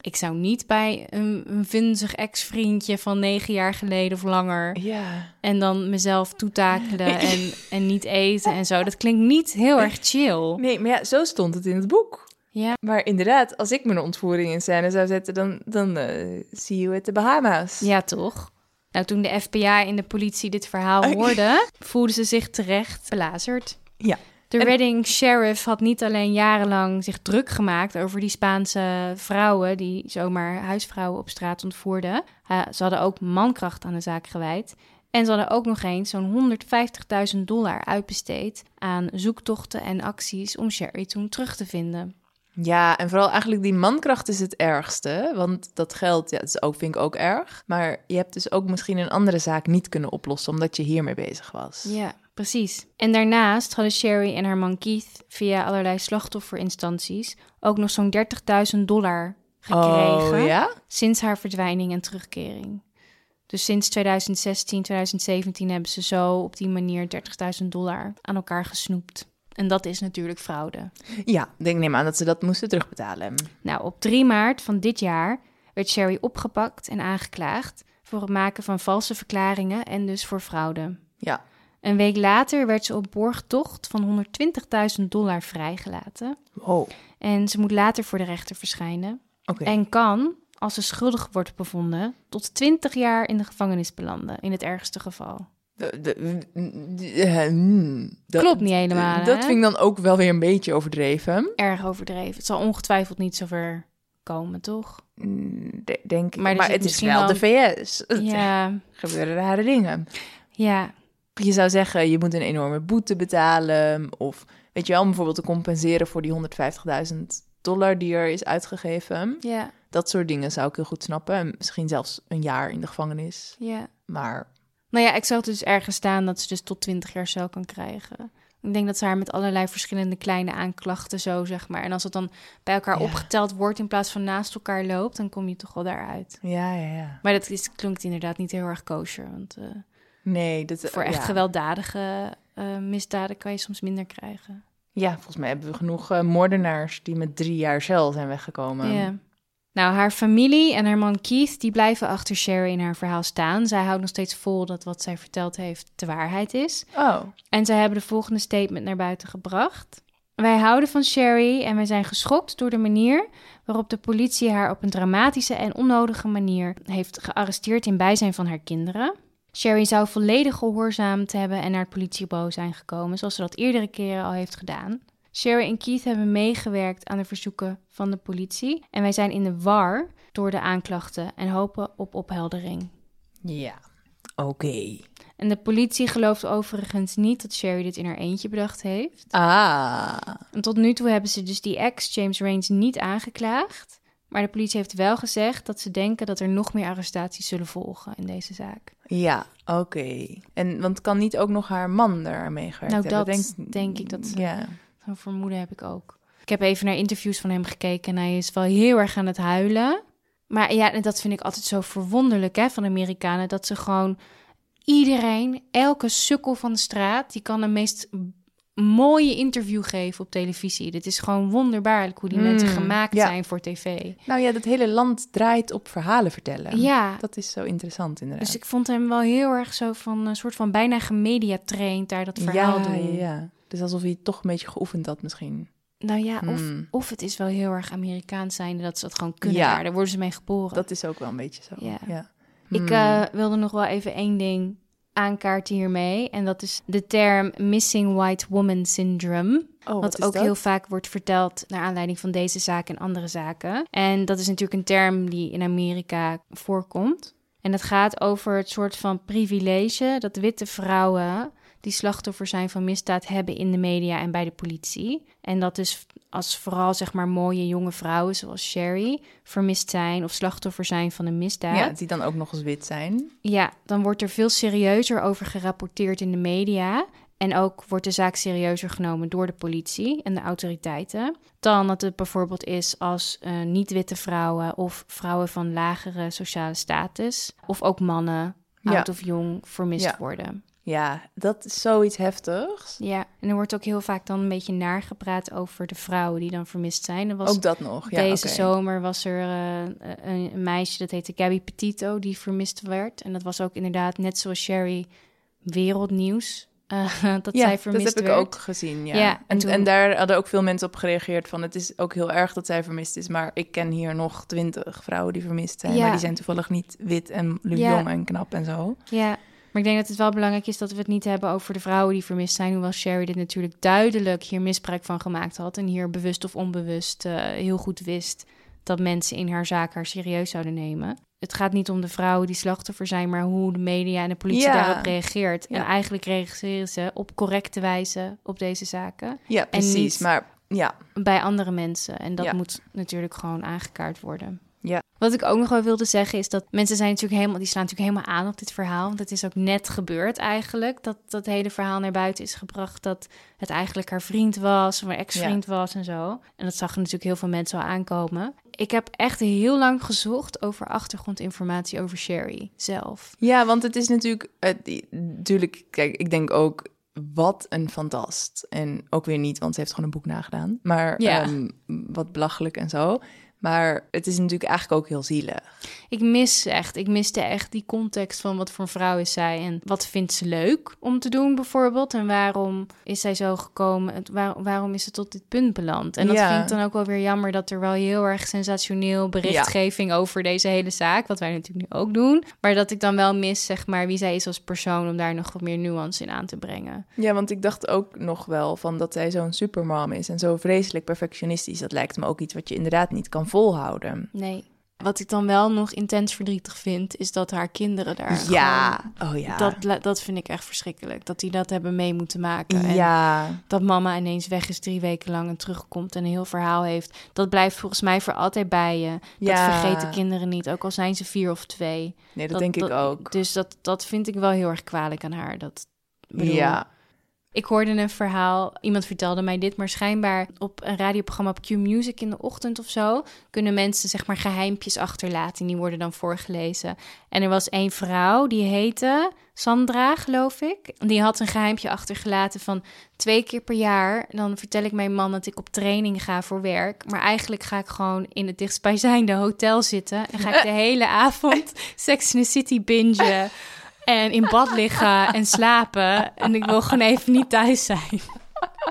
Speaker 2: ik zou niet bij een, een vunzig ex-vriendje van negen jaar geleden of langer.
Speaker 1: Ja.
Speaker 2: En dan mezelf toetakelen en, en niet eten en zo. Dat klinkt niet heel erg chill.
Speaker 1: Nee, maar ja, zo stond het in het boek.
Speaker 2: Ja.
Speaker 1: Maar inderdaad, als ik mijn ontvoering in scène zou zetten, dan, dan eh, see you at the Bahama's.
Speaker 2: Ja, toch? Nou, toen de FBI en de politie dit verhaal hoorden, voelden ze zich terecht belazerd.
Speaker 1: Ja.
Speaker 2: De
Speaker 1: En-
Speaker 2: Redding Sheriff had niet alleen jarenlang zich druk gemaakt over die Spaanse vrouwen die zomaar huisvrouwen op straat ontvoerden. Eh, ze hadden ook mankracht aan de zaak gewijd. En ze hadden ook nog eens zo'n 150.000 dollar uitbesteed aan zoektochten en acties om Sherry toen terug te vinden.
Speaker 1: Ja, en vooral eigenlijk die mankracht is het ergste. Want dat geld, ja, dat is ook, vind ik ook erg. Maar je hebt dus ook misschien een andere zaak niet kunnen oplossen omdat je hiermee bezig was.
Speaker 2: Ja, precies. En daarnaast hadden Sherry en haar man Keith via allerlei slachtofferinstanties ook nog zo'n 30.000 dollar gekregen
Speaker 1: Oh ja?
Speaker 2: sinds haar verdwijning en terugkering. Dus sinds 2016, 2017 hebben ze zo op die manier 30.000 dollar aan elkaar gesnoept. En dat is natuurlijk fraude.
Speaker 1: Ja, ik denk neem aan dat ze dat moesten terugbetalen.
Speaker 2: Nou, op 3 maart van dit jaar werd Sherry opgepakt en aangeklaagd voor het maken van valse verklaringen en dus voor fraude.
Speaker 1: Ja.
Speaker 2: Een week later werd ze op borgtocht van 120.000 dollar vrijgelaten.
Speaker 1: Wow. Oké.
Speaker 2: En ze moet later voor de rechter verschijnen. En kan, als ze schuldig wordt bevonden, tot 20 jaar in de gevangenis belanden, in het ergste geval.
Speaker 1: De- de- de- eh, mm, dat- eh,
Speaker 2: Klopt niet helemaal.
Speaker 1: Dat
Speaker 2: hè?
Speaker 1: vind ik dan ook wel weer een beetje overdreven.
Speaker 2: erg overdreven. Het zal ongetwijfeld niet zover komen, toch?
Speaker 1: Mm, de- denk ik.
Speaker 2: Maar
Speaker 1: Maar,
Speaker 2: er zit
Speaker 1: het is
Speaker 2: misschien
Speaker 1: wel
Speaker 2: wel-
Speaker 1: de VS. Er
Speaker 2: Ja,
Speaker 1: gebeuren rare dingen.
Speaker 2: ja,
Speaker 1: Je zou zeggen, je moet een enorme boete betalen. Of weet je wel, om bijvoorbeeld te compenseren voor die 150.000 dollar die er is uitgegeven.
Speaker 2: ja,
Speaker 1: Dat soort dingen zou ik heel goed snappen. En misschien zelfs een jaar in de gevangenis.
Speaker 2: ja.
Speaker 1: Maar
Speaker 2: Nou ja, ik zag dus ergens staan dat ze dus tot 20 jaar cel kan krijgen. Ik denk dat ze haar met allerlei verschillende kleine aanklachten zo, zeg maar. En als het dan bij elkaar
Speaker 1: Ja.
Speaker 2: opgeteld wordt in plaats van naast elkaar loopt, dan kom je toch wel daaruit.
Speaker 1: ja, ja, ja.
Speaker 2: Maar dat is, klinkt inderdaad niet heel erg kosher. Want eh,
Speaker 1: Nee, dat
Speaker 2: voor echt
Speaker 1: ja.
Speaker 2: gewelddadige eh, misdaden kan je soms minder krijgen.
Speaker 1: Ja, volgens mij hebben we genoeg eh, moordenaars die met drie jaar cel zijn weggekomen.
Speaker 2: Ja. Nou, haar familie en haar man Keith, die blijven achter Sherry in haar verhaal staan. Zij houdt nog steeds vol dat wat zij verteld heeft de waarheid is.
Speaker 1: Oh,
Speaker 2: En zij hebben de volgende statement naar buiten gebracht. Wij houden van Sherry en wij zijn geschokt door de manier waarop de politie haar op een dramatische en onnodige manier heeft gearresteerd in bijzijn van haar kinderen. Sherry zou volledig gehoorzaamd hebben en naar het politiebureau zijn gekomen, zoals ze dat eerdere keren al heeft gedaan. Sherry en Keith hebben meegewerkt aan de verzoeken van de politie en wij zijn in de war door de aanklachten en hopen op opheldering.
Speaker 1: ja. Oké.
Speaker 2: En de politie gelooft overigens niet dat Sherry dit in haar eentje bedacht heeft.
Speaker 1: Ah,
Speaker 2: En tot nu toe hebben ze dus die ex, James Raines, niet aangeklaagd. Maar de politie heeft wel gezegd dat ze denken dat er nog meer arrestaties zullen volgen in deze zaak.
Speaker 1: ja, oké. En want kan niet ook nog haar man daar meegewerkt
Speaker 2: Nou,
Speaker 1: hebben?
Speaker 2: dat denk ik dat ze-
Speaker 1: Ja.
Speaker 2: Zo'n vermoeden heb ik ook. Ik heb even naar interviews van hem gekeken en hij is wel heel erg aan het huilen. Maar ja, en dat vind ik altijd zo verwonderlijk hè, van de Amerikanen. Dat ze gewoon iedereen, elke sukkel van de straat, die kan een meest mooie interview geven op televisie. Dit is gewoon wonderbaarlijk hoe die
Speaker 1: Mm,
Speaker 2: mensen gemaakt
Speaker 1: ja.
Speaker 2: zijn voor tv.
Speaker 1: Nou ja, dat hele land draait op verhalen vertellen.
Speaker 2: Ja,
Speaker 1: Dat is zo interessant inderdaad.
Speaker 2: dus ik vond hem wel heel erg zo van een soort van bijna gemediatraind daar dat verhaal
Speaker 1: ja,
Speaker 2: doen.
Speaker 1: ja, ja. Dus alsof hij toch een beetje geoefend had misschien.
Speaker 2: Nou ja, of,
Speaker 1: Hmm.
Speaker 2: of het is wel heel erg Amerikaans zijnde dat ze dat gewoon kunnen
Speaker 1: Ja.
Speaker 2: daar. Daar worden ze mee geboren.
Speaker 1: Dat Hmm. is ook wel een beetje zo.
Speaker 2: Ja.
Speaker 1: ja.
Speaker 2: Ik eh, wilde nog wel even één ding aankaarten hiermee. En dat is de term Missing White Woman Syndrome.
Speaker 1: Oh,
Speaker 2: wat
Speaker 1: is
Speaker 2: ook
Speaker 1: dat?
Speaker 2: heel vaak wordt verteld naar aanleiding van deze zaak en andere zaken. En dat is natuurlijk een term die in Amerika voorkomt. En dat gaat over het soort van privilege dat witte vrouwen die slachtoffer zijn van misdaad hebben in de media en bij de politie. En dat dus als vooral zeg maar mooie jonge vrouwen zoals Sherry vermist zijn of slachtoffer zijn van een misdaad.
Speaker 1: Ja, die dan ook nog eens wit zijn.
Speaker 2: Ja, dan wordt er veel serieuzer over gerapporteerd in de media. En ook wordt de zaak serieuzer genomen door de politie en de autoriteiten. Dan dat het bijvoorbeeld is als eh, niet-witte vrouwen of vrouwen van lagere sociale status. Of ook mannen,
Speaker 1: Ja.
Speaker 2: oud of jong, vermist
Speaker 1: Ja.
Speaker 2: worden.
Speaker 1: Ja, dat is zoiets heftigs.
Speaker 2: Ja, en er wordt ook heel vaak dan een beetje nagepraat over de vrouwen die dan vermist zijn. Er was
Speaker 1: Ook dat nog. Ja,
Speaker 2: Deze
Speaker 1: oké.
Speaker 2: zomer was er eh, een, een meisje dat heette Gabby Petito die vermist werd. En dat was ook inderdaad net zoals Sherry wereldnieuws. eh, dat
Speaker 1: ja,
Speaker 2: zij vermist
Speaker 1: dat heb ik
Speaker 2: werd.
Speaker 1: ook gezien. Ja.
Speaker 2: Ja, en
Speaker 1: en, en,
Speaker 2: toen-
Speaker 1: daar hadden ook veel mensen op gereageerd van het is ook heel erg dat zij vermist is. Maar ik ken hier nog twintig vrouwen die vermist zijn.
Speaker 2: Ja.
Speaker 1: Maar die zijn toevallig niet wit en
Speaker 2: Ja.
Speaker 1: jong en knap en zo.
Speaker 2: Ja, maar ik denk dat het wel belangrijk is dat we het niet hebben over de vrouwen die vermist zijn. Hoewel Sherry dit natuurlijk duidelijk hier misbruik van gemaakt had. En hier bewust of onbewust eh, heel goed wist dat mensen in haar zaak haar serieus zouden nemen. Het gaat niet om de vrouwen die slachtoffer zijn, maar hoe de media en de politie
Speaker 1: Ja.
Speaker 2: daarop reageert. En
Speaker 1: Ja.
Speaker 2: eigenlijk reageren ze op correcte wijze op deze zaken.
Speaker 1: Ja, precies.
Speaker 2: niet-
Speaker 1: Maar Ja,
Speaker 2: bij andere mensen. En dat
Speaker 1: Ja.
Speaker 2: moet natuurlijk gewoon aangekaart worden.
Speaker 1: Ja.
Speaker 2: Wat ik ook nog wel wilde zeggen is dat mensen zijn natuurlijk helemaal, die slaan natuurlijk helemaal aan op dit verhaal. Want het is ook net gebeurd eigenlijk. Dat dat hele verhaal naar buiten is gebracht. Dat het eigenlijk haar vriend was, of haar ex-vriend was en zo. En dat zag natuurlijk heel veel mensen al aankomen. Ik heb echt heel lang gezocht over achtergrondinformatie over Sherry zelf.
Speaker 1: Ja, want het is natuurlijk, eh, die- natuurlijk, kijk, ik denk ook wat een fantast. En ook weer niet, want ze heeft gewoon een boek nagedaan. Maar
Speaker 2: Ja.
Speaker 1: ehm, wat belachelijk en zo. Maar het is natuurlijk eigenlijk ook heel zielig.
Speaker 2: Ik mis echt, ik miste echt die context van wat voor vrouw is zij en wat vindt ze leuk om te doen bijvoorbeeld en waarom is zij zo gekomen en waar- waarom is ze tot dit punt beland. En dat
Speaker 1: Ja.
Speaker 2: vind ik dan ook wel weer jammer dat er wel heel erg sensationeel berichtgeving over deze hele zaak, wat wij natuurlijk nu ook doen, maar dat ik dan wel mis zeg maar wie zij is als persoon om daar nog wat meer nuance in aan te brengen.
Speaker 1: Ja, want ik dacht ook nog wel van dat zij zo'n supermom is en zo vreselijk perfectionistisch. Dat lijkt me ook iets wat je inderdaad niet kan volhouden.
Speaker 2: Nee. Wat ik dan wel nog intens verdrietig vind is dat haar kinderen daar gewoon-
Speaker 1: ja, oh ja.
Speaker 2: Dat, la- dat vind ik echt verschrikkelijk. Dat die dat hebben mee moeten maken. En
Speaker 1: ja,
Speaker 2: dat mama ineens weg is drie weken lang en terugkomt en een heel verhaal heeft. Dat blijft volgens mij voor altijd bij je. Dat
Speaker 1: ja.
Speaker 2: vergeten kinderen niet, ook al zijn ze vier of twee.
Speaker 1: Nee, dat, denk ik ook.
Speaker 2: Dus dat, dat vind ik wel heel erg kwalijk aan haar. Dat, bedoel,
Speaker 1: Ja,
Speaker 2: Ik hoorde een verhaal, iemand vertelde mij dit, maar schijnbaar op een radioprogramma op Q-Music in de ochtend of zo kunnen mensen zeg maar geheimpjes achterlaten en die worden dan voorgelezen. En er was één vrouw, die heette Sandra, geloof ik. Die had een geheimpje achtergelaten van twee keer per jaar, dan vertel ik mijn man dat ik op training ga voor werk, maar eigenlijk ga ik gewoon in het dichtstbijzijnde hotel zitten en ga ik de hele avond Sex in the City bingen. En in bad liggen en slapen. En ik wil gewoon even niet thuis zijn.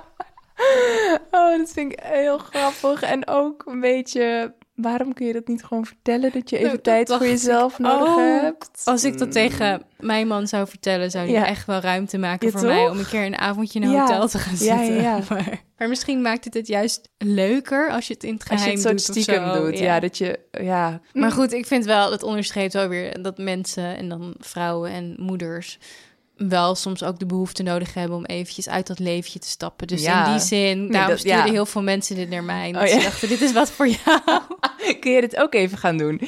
Speaker 1: Oh, dat vind ik heel grappig. En ook een beetje, waarom kun je dat niet gewoon vertellen? Dat je even
Speaker 2: Nou, dat
Speaker 1: tijd voor
Speaker 2: dacht
Speaker 1: jezelf nodig
Speaker 2: ook. Oh,
Speaker 1: hebt. Hmm.
Speaker 2: Als ik dat tegen mijn man zou vertellen, zou hij
Speaker 1: Mm. Ja.
Speaker 2: echt wel ruimte maken
Speaker 1: Ja,
Speaker 2: voor mij
Speaker 1: toch?
Speaker 2: om een keer een avondje in een
Speaker 1: Ja.
Speaker 2: hotel te gaan
Speaker 1: Ja,
Speaker 2: zitten.
Speaker 1: ja, ja.
Speaker 2: Maar, maar misschien maakt het het juist leuker als je het in het
Speaker 1: Als
Speaker 2: geheim
Speaker 1: je het soort
Speaker 2: doet. of
Speaker 1: stiekem
Speaker 2: zo.
Speaker 1: doet. Ja. dat je, ja.
Speaker 2: Maar goed, ik vind wel, het onderstreept wel weer dat mensen en dan vrouwen en moeders wel soms ook de behoefte nodig hebben om eventjes uit dat leventje te stappen. Dus
Speaker 1: Ja.
Speaker 2: in die zin, daarom
Speaker 1: dat-
Speaker 2: stuurden
Speaker 1: ja.
Speaker 2: heel veel mensen dit naar mij.
Speaker 1: Oh,
Speaker 2: Oh, Ze
Speaker 1: ja.
Speaker 2: dachten, dit is wat voor jou.
Speaker 1: kun je dit ook even gaan doen?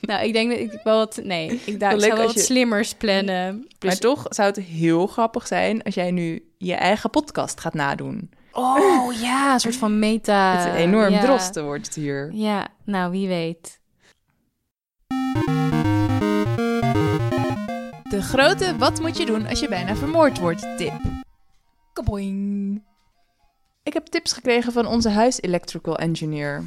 Speaker 2: Nou, ik denk dat ik wel wat... Nee, ik, daar, ik
Speaker 1: leuk
Speaker 2: zou wel
Speaker 1: als
Speaker 2: wat
Speaker 1: je-
Speaker 2: slimmers plannen.
Speaker 1: Maar toch zou het heel grappig zijn als jij nu je eigen podcast gaat nadoen.
Speaker 2: Oh ja, een soort van meta...
Speaker 1: het is enorm
Speaker 2: Eh, ja.
Speaker 1: drosten wordt het hier.
Speaker 2: Ja, nou, wie weet.
Speaker 1: De grote wat moet je doen als je bijna vermoord wordt tip. Kaboing. Ik heb tips gekregen van onze huis electrical engineer.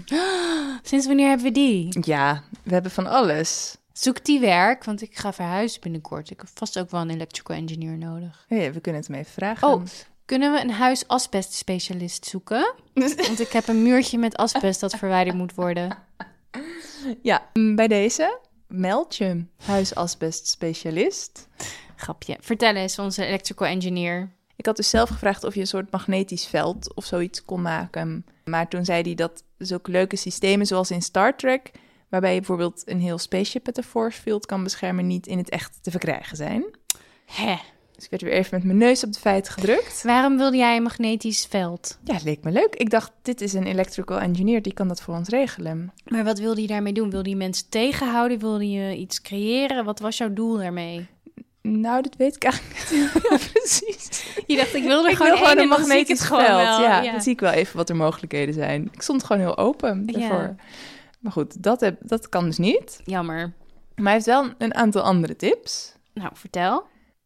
Speaker 2: Sinds wanneer hebben we die?
Speaker 1: Ja, we hebben van alles.
Speaker 2: Zoek die werk, want ik ga verhuizen binnenkort. Ik heb vast ook wel een electrical engineer nodig.
Speaker 1: Hé, Oh we kunnen het hem even vragen.
Speaker 2: Oh. Kunnen we een huis asbestspecialist zoeken? Want ik heb een muurtje met asbest dat verwijderd moet worden.
Speaker 1: Ja, mm, bij deze meld je huisasbestspecialist.
Speaker 2: Grapje. Vertel eens, onze electrical engineer.
Speaker 1: Ik had dus zelf gevraagd of je een soort magnetisch veld of zoiets kon maken. Maar toen zei hij dat zulke leuke systemen zoals in Star Trek, waarbij je bijvoorbeeld een heel spaceship met een force field kan beschermen, niet in het echt te verkrijgen zijn.
Speaker 2: Hè,
Speaker 1: Dus ik werd weer even met mijn neus op de feiten gedrukt.
Speaker 2: waarom wilde jij een magnetisch veld?
Speaker 1: Ja, het leek me leuk. Ik dacht, dit is een electrical engineer, die kan dat voor ons regelen.
Speaker 2: Maar wat wilde je daarmee doen? Wilde je mensen tegenhouden? Wilde je iets creëren? Wat was jouw doel daarmee?
Speaker 1: Nou, dat weet ik eigenlijk niet heel precies.
Speaker 2: Je dacht, ik wil er
Speaker 1: ik
Speaker 2: gewoon,
Speaker 1: wil gewoon
Speaker 2: één
Speaker 1: een
Speaker 2: en dan zie ik
Speaker 1: magnetisch
Speaker 2: het gewoon
Speaker 1: veld.
Speaker 2: wel.
Speaker 1: ja, dan zie ik wel even wat er mogelijkheden zijn. Ik stond gewoon heel open
Speaker 2: Ja.
Speaker 1: daarvoor. Maar goed, dat, heb, dat kan dus niet.
Speaker 2: Jammer.
Speaker 1: Maar hij heeft wel een aantal andere tips.
Speaker 2: Nou, vertel.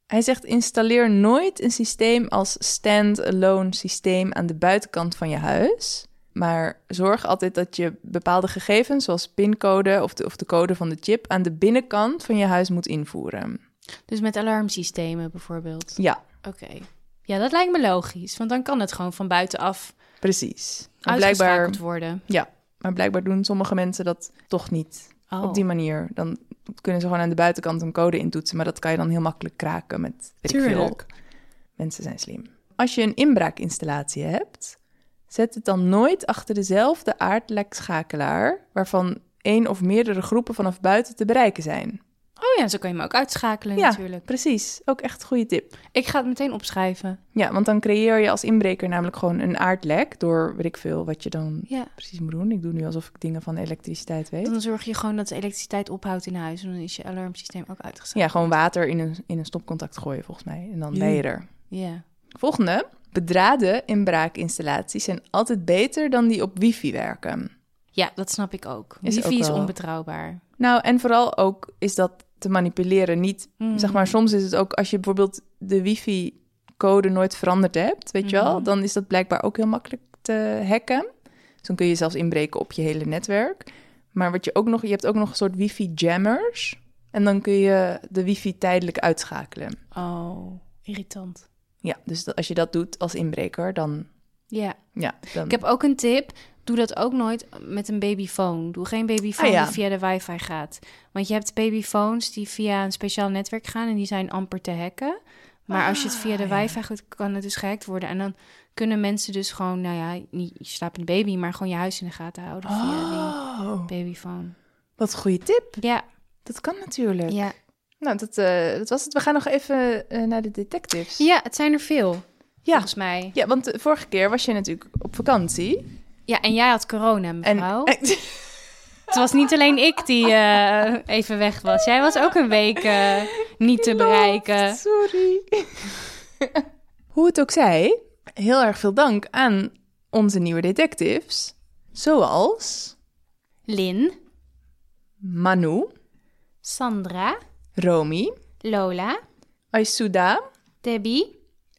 Speaker 1: Hij zegt: installeer nooit een systeem als stand-alone systeem aan de buitenkant van je huis. Maar zorg altijd dat je bepaalde gegevens, zoals pincode of de, of de code van de chip, aan de binnenkant van je huis moet invoeren.
Speaker 2: Dus met alarmsystemen bijvoorbeeld.
Speaker 1: Ja,
Speaker 2: Oké. Ja, dat lijkt me logisch, want dan kan het gewoon van buitenaf
Speaker 1: precies. Maar blijkbaar,
Speaker 2: uitgeschakeld worden.
Speaker 1: maar blijkbaar doen sommige mensen dat toch niet.
Speaker 2: Oh.
Speaker 1: op die manier. Dan kunnen ze gewoon aan de buitenkant een code intoetsen. Maar dat kan je dan heel makkelijk kraken met, weet ik veel.
Speaker 2: Tuurlijk.
Speaker 1: Mensen zijn slim. Als je een inbraakinstallatie hebt, zet het dan nooit achter dezelfde aardlekschakelaar... waarvan één of meerdere groepen vanaf buiten te bereiken zijn.
Speaker 2: Oh ja, zo kan je hem ook uitschakelen
Speaker 1: Ja.
Speaker 2: natuurlijk.
Speaker 1: Precies, ook echt een goede tip.
Speaker 2: Ik ga het meteen opschrijven.
Speaker 1: Ja, want dan creëer je als inbreker namelijk gewoon een aardlek door, weet ik veel, wat je dan
Speaker 2: Ja.
Speaker 1: precies moet doen. Ik doe nu alsof ik dingen van elektriciteit weet.
Speaker 2: Dan zorg je gewoon dat de elektriciteit ophoudt in huis. En dan is je alarmsysteem ook uitgeschakeld.
Speaker 1: Ja, gewoon water in een, in een stopcontact gooien volgens mij. En dan ben je er.
Speaker 2: Ja.
Speaker 1: Volgende. Bedraden inbraakinstallaties zijn altijd beter dan die op wifi werken.
Speaker 2: Ja, dat snap ik ook.
Speaker 1: Is
Speaker 2: Wifi
Speaker 1: ook
Speaker 2: is
Speaker 1: wel-
Speaker 2: onbetrouwbaar.
Speaker 1: Nou, en vooral ook is dat te manipuleren niet...
Speaker 2: Mm.
Speaker 1: Zeg maar, soms is het ook als je bijvoorbeeld de wifi-code nooit veranderd hebt, weet je wel...
Speaker 2: Mhm.
Speaker 1: dan is dat blijkbaar ook heel makkelijk te hacken. Dus dan kun je zelfs inbreken op je hele netwerk. Maar wat je ook nog... Je hebt ook nog een soort wifi-jammers. En dan kun je de wifi tijdelijk uitschakelen.
Speaker 2: Oh, irritant.
Speaker 1: Ja, dus dat- als je dat doet als inbreker, dan...
Speaker 2: Ja.
Speaker 1: Ja, dan...
Speaker 2: Ik heb ook een tip. Doe dat ook nooit met een babyfoon. Doe geen babyfoon
Speaker 1: Ah, ja.
Speaker 2: die via de wifi gaat. Want je hebt babyfoons die via een speciaal netwerk gaan en die zijn amper te hacken. Maar als je het via de
Speaker 1: Ah, ja.
Speaker 2: wifi gaat, kan het dus gehackt worden. En dan kunnen mensen dus gewoon, nou ja, niet je slapende baby, maar gewoon je huis in de gaten houden via
Speaker 1: Oh,
Speaker 2: die babyfoon.
Speaker 1: wat een goede tip.
Speaker 2: Ja,
Speaker 1: Dat kan natuurlijk.
Speaker 2: ja.
Speaker 1: Nou, dat, eh, dat was het. We gaan nog even eh, naar de detectives.
Speaker 2: ja, het zijn er veel,
Speaker 1: ja.
Speaker 2: volgens mij.
Speaker 1: Ja, want de vorige keer was je natuurlijk op vakantie.
Speaker 2: Ja, en jij had corona, mevrouw.
Speaker 1: En,
Speaker 2: Het was niet alleen ik die eh, even weg was. Jij was ook een week eh, niet te bereiken.
Speaker 1: Oh, Sorry. Hoe het ook zij, heel erg veel dank aan onze nieuwe detectives. Zoals
Speaker 2: Lin,
Speaker 1: Manu,
Speaker 2: Sandra,
Speaker 1: Romy,
Speaker 2: Lola,
Speaker 1: Aisuda,
Speaker 2: Debbie,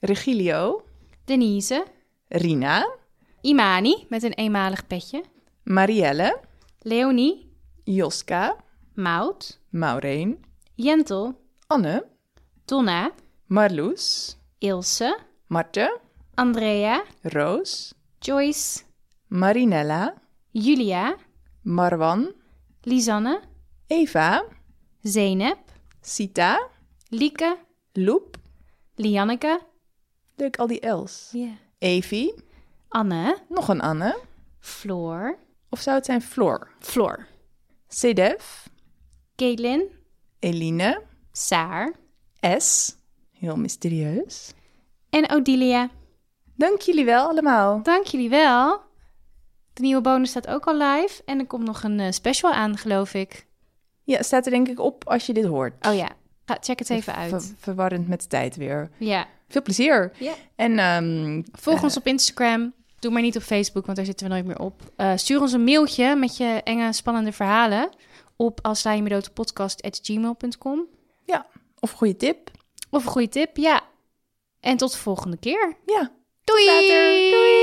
Speaker 1: Regilio,
Speaker 2: Denise,
Speaker 1: Rina,
Speaker 2: Imani met een eenmalig petje,
Speaker 1: Marielle,
Speaker 2: Leonie,
Speaker 1: Joska,
Speaker 2: Maud,
Speaker 1: Maureen,
Speaker 2: Jentel,
Speaker 1: Anne,
Speaker 2: Donna,
Speaker 1: Marloes,
Speaker 2: Ilse,
Speaker 1: Marte,
Speaker 2: Andrea,
Speaker 1: Roos,
Speaker 2: Joyce,
Speaker 1: Marinella,
Speaker 2: Julia,
Speaker 1: Marwan,
Speaker 2: Lisanne,
Speaker 1: Eva,
Speaker 2: Zeynep,
Speaker 1: Sita,
Speaker 2: Lieke,
Speaker 1: Loep.
Speaker 2: Lianneke,
Speaker 1: Leuk, al die Els. Evie,
Speaker 2: Anne,
Speaker 1: nog een Anne.
Speaker 2: Floor,
Speaker 1: Of zou het zijn Floor?
Speaker 2: Floor,
Speaker 1: Sedef,
Speaker 2: Caitlin,
Speaker 1: Eline,
Speaker 2: Saar
Speaker 1: S. Heel mysterieus.
Speaker 2: en Odilia.
Speaker 1: Dank jullie wel allemaal.
Speaker 2: Dank jullie wel. De nieuwe bonus staat ook al live en er komt nog een eh, special aan, geloof ik.
Speaker 1: Ja, staat er denk ik op als je dit hoort.
Speaker 2: Oh ja, Ga, check het even uit.
Speaker 1: Ver- verwarrend met de tijd weer.
Speaker 2: Ja.
Speaker 1: Veel plezier.
Speaker 2: Ja. Eh.
Speaker 1: En ehm,
Speaker 2: Volg ons op Instagram. Doe maar niet op Facebook, want daar zitten we nooit meer op. Eh, stuur ons een mailtje met je enge, spannende verhalen op als je me dood podcast@gmail.com.
Speaker 1: of goede tip.
Speaker 2: Of een goede tip, ja. En tot de volgende keer.
Speaker 1: Ja,
Speaker 2: Doei!
Speaker 1: later. Doei.